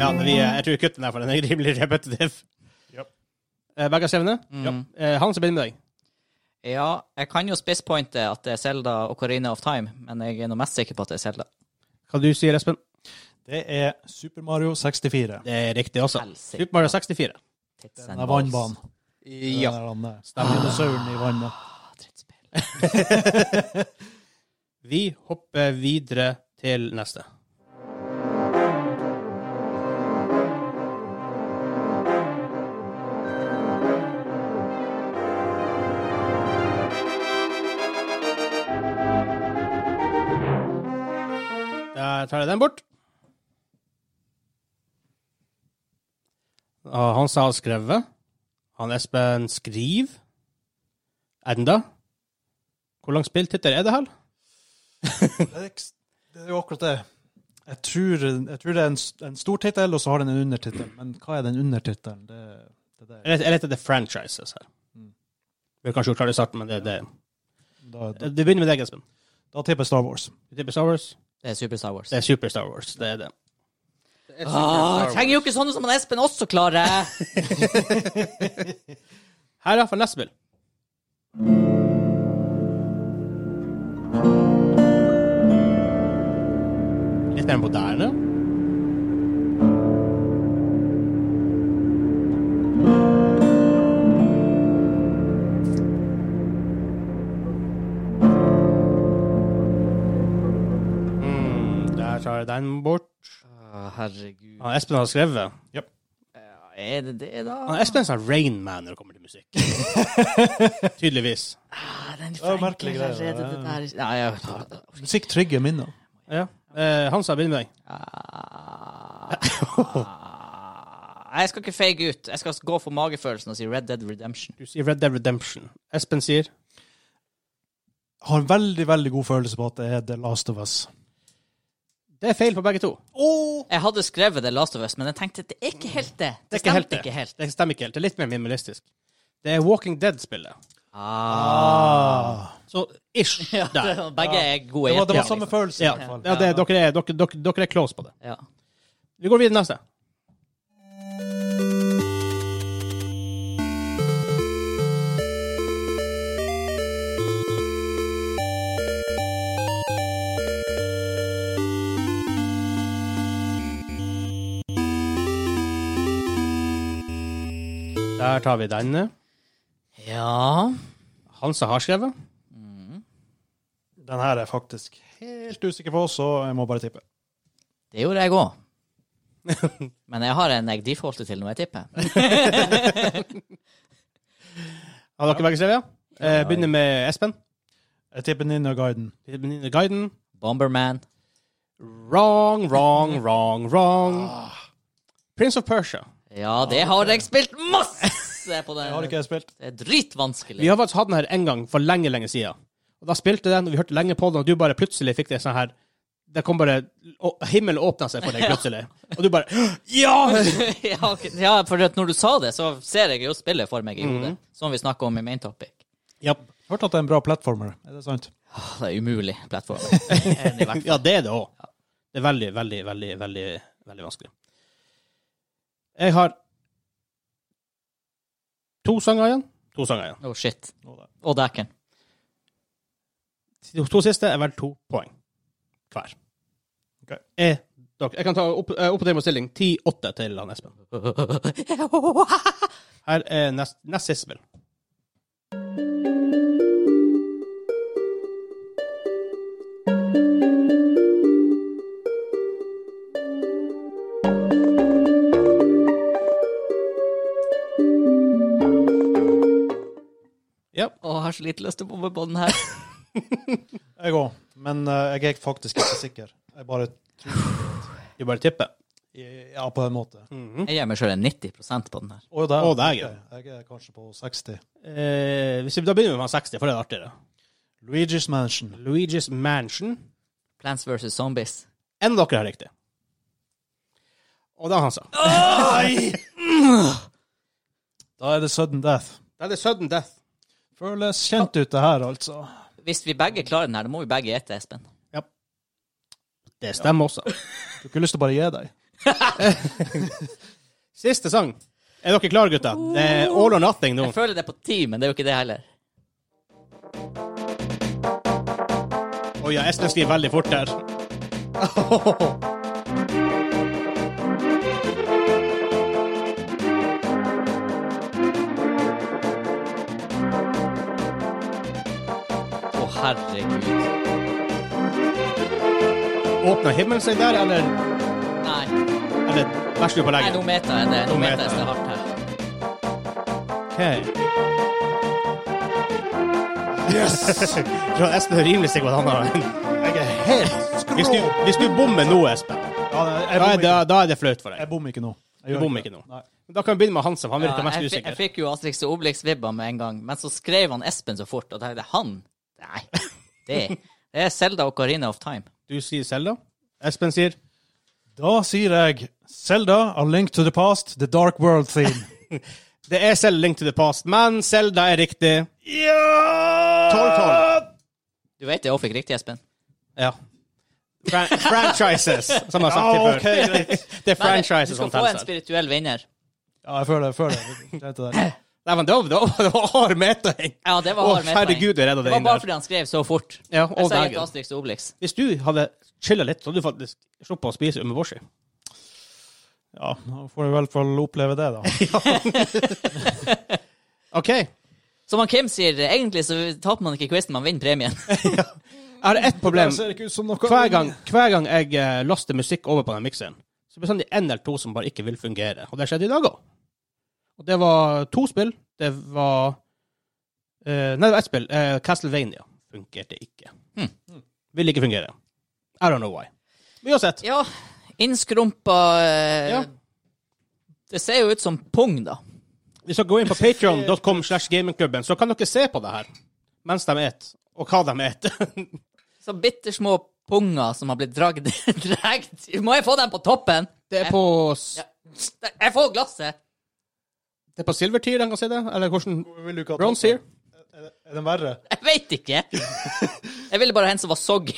Speaker 2: Ja, vi, eh, jeg tror vi kutter den der, for den er rimelig repetitiv. Eh, Begge har skrevet ned? Ja. Eh, Hansa begynner med deg.
Speaker 3: Ja, jeg kan jo spisspointe at det er Selda og Corina of Time, men jeg er nå mest sikker på at det er Selda.
Speaker 2: Hva du sier Espen?
Speaker 4: Det er Super Mario 64.
Speaker 2: Det er riktig altså. også.
Speaker 3: Helsike.
Speaker 2: Super Mario 64.
Speaker 3: Tits and
Speaker 4: Den er
Speaker 3: balls.
Speaker 4: vannbanen. Den
Speaker 2: Ja.
Speaker 4: der andre.
Speaker 2: Stemmer.
Speaker 4: Dinosauren i vannet.
Speaker 3: Ah, drittspill.
Speaker 2: Vi hopper videre til neste. Der tar jeg den bort. Og han sa han skrevet. Han Espen skriver. Enda. Hvor lang spilltittel er det her?
Speaker 4: Det er eks- det er jo akkurat det. Jeg tror, jeg tror det er en, s- en stor tittel, og så har den en undertittel. Men hva er den undertittelen? Det, det der.
Speaker 2: Jeg leter- jeg leter etter franchises her.
Speaker 4: Mm.
Speaker 2: Vi har kanskje gjort klart i starten, men det, det.
Speaker 4: Da, da,
Speaker 2: det begynner med deg, Espen.
Speaker 4: da tipper jeg Star Wars.
Speaker 2: Vi tipper Star Wars.
Speaker 3: Det er Super Star Wars.
Speaker 2: Det er Super Star Wars. Det er det. det er Super Star
Speaker 3: Ah,
Speaker 2: Wars.
Speaker 3: trenger jo ikke sånne som han Espen også klarer!
Speaker 2: Her er for neste spill. Litt mer moderne. Mm, Der tar jeg den bort.
Speaker 3: Ah, herregud.
Speaker 2: Han Espen har skrevet.
Speaker 3: Er det det, da?
Speaker 2: Han Espen er sånn Rain Man når det kommer til musikk. Tydeligvis.
Speaker 3: Ah, den
Speaker 4: var merkelig
Speaker 3: flekker
Speaker 4: greie,
Speaker 3: allerede, det der.
Speaker 4: ja.
Speaker 3: Nei, jeg...
Speaker 4: Musikk trigger minner.
Speaker 2: Ja. Eh, Hansa, begynn med deg.
Speaker 3: Ah. Nei, Jeg skal ikke feige ut. Jeg skal gå for magefølelsen og si Red Dead Redemption.
Speaker 2: Du sier Red Dead Redemption. Espen sier
Speaker 4: Har en veldig, veldig god følelse på at det er The Last of Us.
Speaker 2: Det er feil på begge to.
Speaker 3: Jeg hadde skrevet det Last of Us, men jeg tenkte at det er ikke helt det.
Speaker 2: Det er
Speaker 3: Det
Speaker 2: ikke helt
Speaker 3: stemte
Speaker 2: det.
Speaker 3: ikke helt.
Speaker 2: Det stemmer ikke helt. Det er litt mer minimalistisk. Det er Walking Dead-spillet.
Speaker 3: Ah.
Speaker 2: Så ish
Speaker 3: Ja,
Speaker 2: der.
Speaker 3: det- begge er gode
Speaker 4: Det var, det
Speaker 3: hjerter,
Speaker 4: var samme
Speaker 3: liksom.
Speaker 4: følelse,
Speaker 2: Ja,
Speaker 4: i hvert fall.
Speaker 2: ja det, dere, er, dere, dere, dere er close på det.
Speaker 3: Ja.
Speaker 2: Vi går videre til neste. Der tar vi denne.
Speaker 3: ja.
Speaker 2: Hansa har skrevet.
Speaker 4: Den her er jeg faktisk helt usikker på, så jeg må bare tippe.
Speaker 3: Det gjorde jeg òg. Men jeg har en jeg defaulter til når jeg tipper.
Speaker 2: Har dere begge skrevet? ja? Eh, begynner med Espen.
Speaker 4: Jeg tipper Ninja Guiden.
Speaker 2: Begynner med Guiden.
Speaker 3: Bomberman.
Speaker 2: Wrong, wrong, wrong, wrong. Prince of Persia.
Speaker 3: Ja, det har jeg spilt masse på
Speaker 4: Det har
Speaker 3: den.
Speaker 4: ikke jeg spilt.
Speaker 3: Det er
Speaker 2: Vi
Speaker 3: dritvanskelig.
Speaker 2: har faktisk hatt den her en gang for lenge, lenge siden. Og da spilte den, og vi hørte lenge på den, og du bare plutselig fikk det sånn her Det kom bare og Himmelen åpna seg for deg plutselig. Og du bare Ja!
Speaker 3: ja, ok. ja, for at når du sa det, så ser jeg jo spillet for meg i hodet.
Speaker 4: Mhm.
Speaker 3: Som vi snakka om i Main Topic.
Speaker 2: Japp.
Speaker 4: Hørte at det er en bra plattformer. Er det sant?
Speaker 3: Åh, Det er umulig plattform. Enig i hvert fall.
Speaker 2: Ja, det er det òg. Det er veldig, veldig, veldig, veldig veldig vanskelig. Jeg har to sanger igjen. To sanger igjen.
Speaker 3: Oh, shit.
Speaker 4: Nå da.
Speaker 3: Og dæken.
Speaker 2: De to siste er vel to poeng hver.
Speaker 4: Ok.
Speaker 2: Jeg, dere, jeg kan ta opp, eh, oppdatering på stilling 10-8 til han Espen. Her er nest, nest siste spill. Ja.
Speaker 3: Å, jeg har så lite lyst til å bombe på den her.
Speaker 4: Jeg òg, men eh, jeg er faktisk ikke sikker. Jeg bare
Speaker 2: Du bare tipper.
Speaker 4: Ja, på en måte.
Speaker 2: Mhm.
Speaker 3: Jeg gir meg sjøl en 90 på den her.
Speaker 4: Mm. Og der,
Speaker 2: Å, der, ja.
Speaker 4: Jeg er kanskje på 60.
Speaker 2: eh, hvis vi da begynner med han 60, for det er artigere.
Speaker 4: Luigi's Mansion.
Speaker 2: Luigi's Mansion.
Speaker 3: Plants vs. Zombies.
Speaker 2: Enn dere har riktig. Og det er han sa.
Speaker 4: Da er det Sudden Death.
Speaker 2: Da er det Sudden Death.
Speaker 4: Føles kjent ut, det her, altså.
Speaker 3: Hvis vi begge klarer den her, da må vi begge gjette, Espen.
Speaker 2: Det stemmer også.
Speaker 4: Du har ikke lyst til å bare gi deg?
Speaker 2: Siste sang. Er dere klare, gutter? Det er All or Nothing nå.
Speaker 3: Jeg føler det er på ti, men det er jo ikke det heller.
Speaker 2: Å ja, Espen skriver veldig fort her.
Speaker 3: herregud.
Speaker 2: Åpner himmelen seg der, eller,
Speaker 3: Nei,
Speaker 2: eller bæsjer du på
Speaker 3: nei
Speaker 2: leggen?
Speaker 3: nå meta jeg det. Nå
Speaker 2: Nå
Speaker 3: meta
Speaker 2: meta
Speaker 3: jeg
Speaker 2: jeg.
Speaker 3: det hardt her.
Speaker 2: Ok. Yes! Jeg tror Espen er rimelig sikker på at han har den.
Speaker 4: Jeg er helt skrå!
Speaker 2: Hvis du, hvis du bommer nå, Espen,
Speaker 4: Ja, jeg,
Speaker 2: da er,
Speaker 4: bommer
Speaker 2: det,
Speaker 4: ikke.
Speaker 2: da er det flaut for
Speaker 4: jeg
Speaker 2: deg.
Speaker 4: bommer ikke nå. Jeg
Speaker 2: Du
Speaker 4: gjør
Speaker 2: bommer
Speaker 4: det.
Speaker 2: ikke nå.
Speaker 4: Nei.
Speaker 2: Da kan vi begynne med Hansen, for han virker
Speaker 3: Ja,
Speaker 2: mest
Speaker 3: jeg, fikk, jeg
Speaker 2: usikker.
Speaker 3: fikk jo Asterix og Obelix-vibba med en gang, men så skrev han Espen så fort, og da tenkte jeg han? Nei. Det, det er Selda og Carina of Time.
Speaker 2: Du sier Selda. Espen sier
Speaker 4: Da sier jeg Selda, A Link to the Past, The Dark World Theme.
Speaker 2: Det er Selda Link to the Past, men Selda er riktig.
Speaker 4: ja!
Speaker 2: 12-12.
Speaker 3: Du vet det òg fikk riktig, Espen.
Speaker 2: Ja. Fran franchises, som jeg har sagt
Speaker 4: Ja,
Speaker 2: til
Speaker 4: ok,
Speaker 2: før. det er
Speaker 3: Men
Speaker 2: franchises
Speaker 3: du
Speaker 2: som
Speaker 3: skal få en
Speaker 2: teller.
Speaker 3: spirituell vinner.
Speaker 4: Ja, jeg føler jeg føler det. Kjente det. der.
Speaker 2: Nei, men det var- det var- det var hard meting.
Speaker 3: Ja, det var
Speaker 2: Å,
Speaker 3: hard medpoeng.
Speaker 2: herregud, jeg redda
Speaker 3: Det
Speaker 2: deg
Speaker 3: var
Speaker 2: inn
Speaker 3: bare
Speaker 2: der.
Speaker 3: fordi han skrev så fort.
Speaker 2: Ja,
Speaker 3: Jeg
Speaker 2: og
Speaker 3: sa ikke
Speaker 2: dagen.
Speaker 3: Asterix og Obelix.
Speaker 2: Hvis du hadde chilla litt, så hadde du faktisk sluppet å spise umeboshi.
Speaker 4: Ja, nå får vi i hvert fall oppleve det, da.
Speaker 2: OK. Jeg
Speaker 3: Som han Kim sier, egentlig så taper man ikke quizen, man vinner premien.
Speaker 2: har ett problem.
Speaker 4: Det ser ikke ut som noe.
Speaker 2: Hver gang, hver gang jeg eh, laster musikk over på den mikseren, så blir det bestandig en eller to som bare ikke vil fungere. Og det skjedde i dag òg. Og det var to spill. Det var eh, Nei, det var ett spill. eh, Castlevania fungerte ikke.
Speaker 3: Hmm.
Speaker 2: Vil ikke fungere. I don't know why. Men uansett.
Speaker 3: Ja, innskrumpa eh,
Speaker 2: Ja.
Speaker 3: Det ser jo ut som pung, da.
Speaker 2: Hvis dere går inn på patreon.com slash gamingklubben, så kan dere se på det her mens de et, og hva de et.
Speaker 3: Så bitte små punger som har blitt dragd dregt. Må jeg få den på toppen?
Speaker 2: Det er på, s-
Speaker 3: Ja. Jeg får glasset!
Speaker 2: det er på silvertier de kan se det, eller hvordan
Speaker 4: Vil du ikke ha
Speaker 2: Bronze here.
Speaker 4: Er er den verre?
Speaker 3: Jeg veit ikke. Jeg ville bare ha en som var soggy.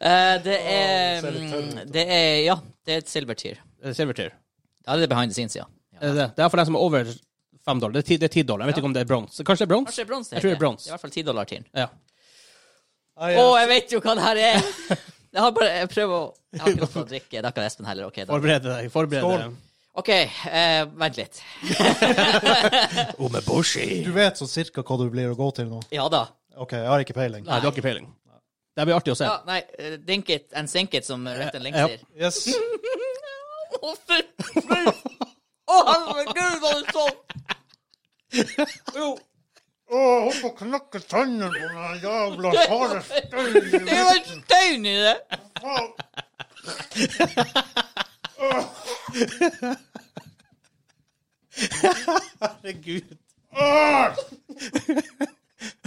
Speaker 3: Eh, det er mm, Det er Ja, det er et silver tier.
Speaker 2: Eh, Silvertier.
Speaker 3: Ja, det er behind the scenes, ja.
Speaker 2: Er det det? Det er for den som er over fem dollar. Det er ti, det er ti dollar. Jeg vet ikke om det er bronse. Kanskje det er bronse?
Speaker 3: Kanskje det
Speaker 2: Jeg tror det er
Speaker 3: er bronse? heter
Speaker 2: bronze.
Speaker 3: I hvert fall 10 dollar tieren.
Speaker 2: Ja.
Speaker 4: Nei,
Speaker 3: Å,
Speaker 4: jeg-
Speaker 3: jeg vet jo hva det her er! Jeg har bare Jeg prøver å Jeg har ikke lov til å drikke. Det har ikke Espen heller. OK, da.
Speaker 2: Forbered deg. Forbered deg.
Speaker 4: Skål.
Speaker 3: OK, eh, vent litt.
Speaker 2: Omeboshi.
Speaker 4: Du vet så cirka hva du blir å gå til nå.
Speaker 3: Ja da.
Speaker 4: OK, jeg har ikke peiling.
Speaker 2: Nei, du har ikke peiling. Det blir artig å se.
Speaker 3: Ja, nei, eh, dink it and sink it, som Retten Link
Speaker 2: Ja.
Speaker 3: sier.
Speaker 4: Yes.
Speaker 3: Å, fy fy. Å, herregud, var det sånn? Jo.
Speaker 4: Hvorfor knakker tennene på den jævla harde
Speaker 3: Det var en stein i det!
Speaker 2: Herregud.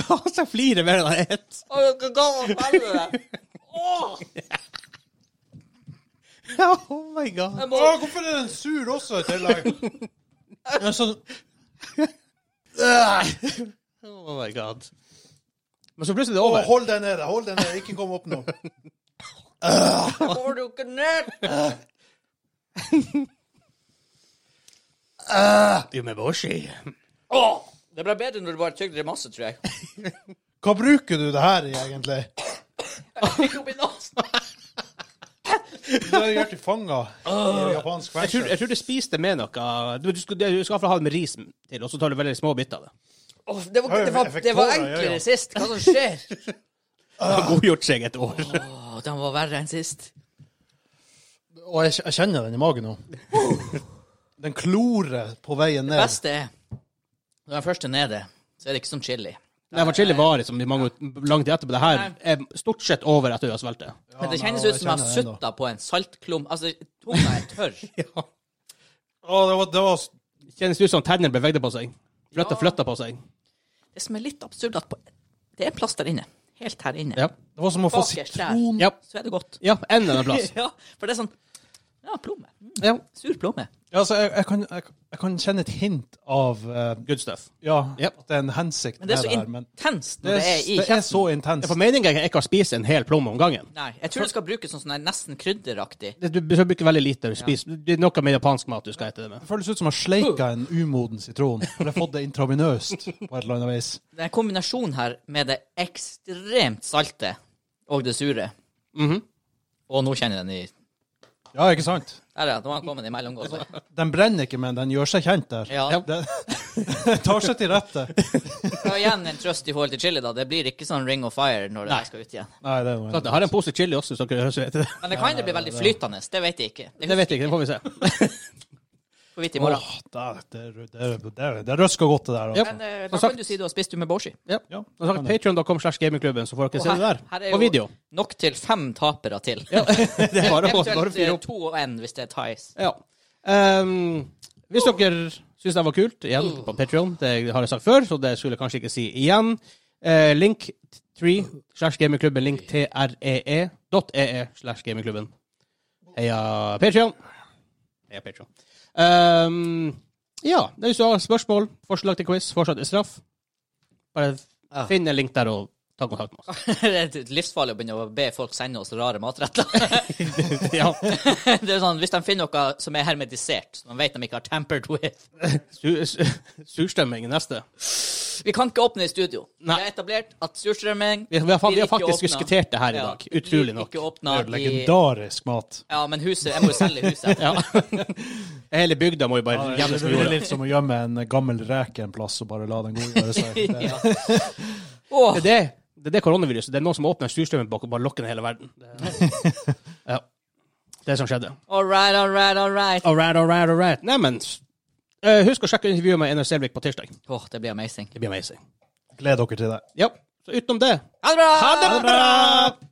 Speaker 2: Han som flirer mer enn han er ett.
Speaker 3: Å, jeg kan gå og felle det. Åh,
Speaker 2: Oh my god.
Speaker 3: jeg
Speaker 4: Å,
Speaker 3: må...
Speaker 4: hvorfor er den sur også i tillegg? Det er sånn
Speaker 2: Oh my god. Men så plutselig er det
Speaker 4: Å,
Speaker 2: over.
Speaker 4: hold deg nede, hold deg nede, ikke kom opp nå.
Speaker 3: Går du ikke ned?
Speaker 2: Umeboshi.
Speaker 3: Åh, det ble bedre når du bare tygde det masse, tror jeg.
Speaker 4: Hva bruker du det her i, egentlig?
Speaker 3: Jeg fikk opp i nasen.
Speaker 4: Det har jeg gjort i fanga i japansk
Speaker 2: Jeg tror,
Speaker 4: fengsel.
Speaker 2: jeg tror du spiste med noe Du, du skal, du skal iallfall ha det med ris til, og så tar du veldig små biter av det.
Speaker 3: Åh, det, var,
Speaker 4: Ja,
Speaker 3: det, var,
Speaker 4: jeg fikk
Speaker 3: det var
Speaker 4: tårer i øynene.
Speaker 3: enklere sist. Hva som skjer?
Speaker 2: Har godgjort seg et år.
Speaker 3: Åh, den var verre enn sist.
Speaker 4: Og jeg, jeg kjenner den i magen nå. Den klorer på veien
Speaker 3: Det
Speaker 4: ned.
Speaker 3: beste er, når den første er nede, så er det ikke som chili.
Speaker 2: Nei, men chili varer som i mange lang tid etterpå. Det her er stort sett over etter du har svelget det.
Speaker 3: Men det
Speaker 4: Ja,
Speaker 3: kjennes
Speaker 4: nei,
Speaker 3: ut som jeg har
Speaker 4: kjenner den
Speaker 3: sutta på en saltklump. Altså, tunga er tørr.
Speaker 2: Ja.
Speaker 4: Å, det var, det var
Speaker 2: Kjennes ut som tennene bevegde på seg. Flytta, flytta på seg.
Speaker 3: Det som er litt absurd, at på, det er plass der inne. Helt her inne.
Speaker 2: Ja.
Speaker 4: Det var som å få
Speaker 3: Bakerst der.
Speaker 4: sitron
Speaker 2: Ja,
Speaker 3: Så er det godt.
Speaker 2: ja en eller annen plass.
Speaker 3: ja, for det er sånn Ja, plomme. Mm,
Speaker 2: Ja.
Speaker 3: Sur plomme.
Speaker 4: altså, jeg, jeg, kan, jeg, jeg kan kjenne et hint av eh,
Speaker 2: Good stuff.
Speaker 4: Ja,
Speaker 2: Ja.
Speaker 4: at det er en hensikt
Speaker 3: Men det er
Speaker 4: med
Speaker 3: så
Speaker 4: det her, men
Speaker 3: intenst
Speaker 4: det
Speaker 3: når det
Speaker 4: er,
Speaker 3: er i
Speaker 4: det er
Speaker 3: kjeften.
Speaker 4: så intenst.
Speaker 2: For meningen er ikke å spise en hel plomme om gangen.
Speaker 3: Nei, jeg tror det skal brukes sånn som er nesten krydderaktig.
Speaker 2: Det- Du skal bruke veldig lite. Du spiser. Det er noe med japansk mat du skal ete det med.
Speaker 4: Det føles ut som jeg sleika en umoden sitron. Eller fått det intravenøst på et eller annet vis.
Speaker 3: Det er en kombinasjon her med det ekstremt salte og det sure.
Speaker 2: Mhm.
Speaker 3: Og nå kjenner jeg den i
Speaker 4: Ja, ikke sant?
Speaker 3: Der, ja. Nå har han kommet i mellomgåsen.
Speaker 4: Den brenner ikke, men den gjør seg kjent der.
Speaker 3: Ja.
Speaker 4: Det, Tar seg til rette.
Speaker 3: Og igjen en trøst i forhold til chili, da. Det blir ikke sånn ring of fire når det
Speaker 2: Nei.
Speaker 3: her skal ut igjen.
Speaker 4: Nei, det er noe
Speaker 2: Jeg har en pose chili også, så dere hører det.
Speaker 3: Men det kan jo bli veldig flytende. Det vet jeg ikke.
Speaker 2: Det vet jeg ikke, det får vi se.
Speaker 3: Får vite i morgen.
Speaker 4: Åh, da- det, er- det, er- det, er- det røsker godt, det der. Altså.
Speaker 2: Ja.
Speaker 3: Men eh,
Speaker 2: Som
Speaker 3: da
Speaker 2: sagt-
Speaker 3: kan du si du har spist umeboshi.
Speaker 4: Ja.
Speaker 2: Som sagt, Patreon.com slash gamingklubben, så får dere
Speaker 3: Og
Speaker 2: se det
Speaker 3: her-
Speaker 2: der.
Speaker 3: her er
Speaker 2: På
Speaker 3: jo-
Speaker 2: video.
Speaker 3: Nok til fem tapere til.
Speaker 2: Det er bare å bare
Speaker 3: Eventuelt
Speaker 2: fyre
Speaker 3: eh,
Speaker 2: opp.
Speaker 3: to og én hvis det er ties.
Speaker 2: Ja. Ehm, hvis dere syns det var kult, igjen på Patreon, det har jeg sagt før, så det skulle jeg kanskje ikke si igjen. Eh, link 3 slash gamingklubben, link E tree.ee E slash gamingklubben. Heia Patreon. Heia Patreon. Ehm, ja, hvis du har spørsmål, forslag til quiz, forslag til straff, bare
Speaker 3: Ja.
Speaker 2: finn en link der og ta kontakt med oss.
Speaker 3: det er livsfarlig å begynne å be folk sende oss rare matretter.
Speaker 2: ja.
Speaker 3: det er sånn, Hvis de finner noe som er hermetisert, som de vet de ikke har tampered with
Speaker 2: Su- su- Surstrømming er neste.
Speaker 3: Vi kan ikke åpne i studio.
Speaker 2: Nei.
Speaker 3: Det er etablert at surstrømming
Speaker 2: Vi, vi, har, fa- vi
Speaker 3: Blir
Speaker 2: har
Speaker 3: ikke
Speaker 2: faktisk
Speaker 3: åpnet.
Speaker 2: diskutert det her i
Speaker 3: Ja.
Speaker 2: dag. Utrolig nok.
Speaker 3: Ikke åpna
Speaker 4: Det er
Speaker 3: i
Speaker 4: legendarisk mat.
Speaker 3: Ja, men huset Jeg må jo selge huset.
Speaker 2: Ja. Hele bygda må jo bare
Speaker 4: Ja,
Speaker 2: jevnes
Speaker 4: det
Speaker 2: med
Speaker 4: blir
Speaker 2: jorda.
Speaker 4: litt som å gjemme en gammel reke en plass og bare la den godgjøre seg. Det,
Speaker 3: ja. Åh,
Speaker 2: Det er det, det, er det koronaviruset. Det er noen som åpner surstrømmen bak og bare lokker ned hele verden. Det- Ja. Det som skjedde.
Speaker 3: all right, all right, all right.
Speaker 2: All right, all right, all right. Neimen, eh, husk å sjekke intervjuet med Einar Selvik på tirsdag.
Speaker 3: Åh, det blir amazing.
Speaker 2: Det blir amazing.
Speaker 4: gled dere til det.
Speaker 2: Ja. Så utenom det
Speaker 3: Ha det bra!
Speaker 2: Ha det bra!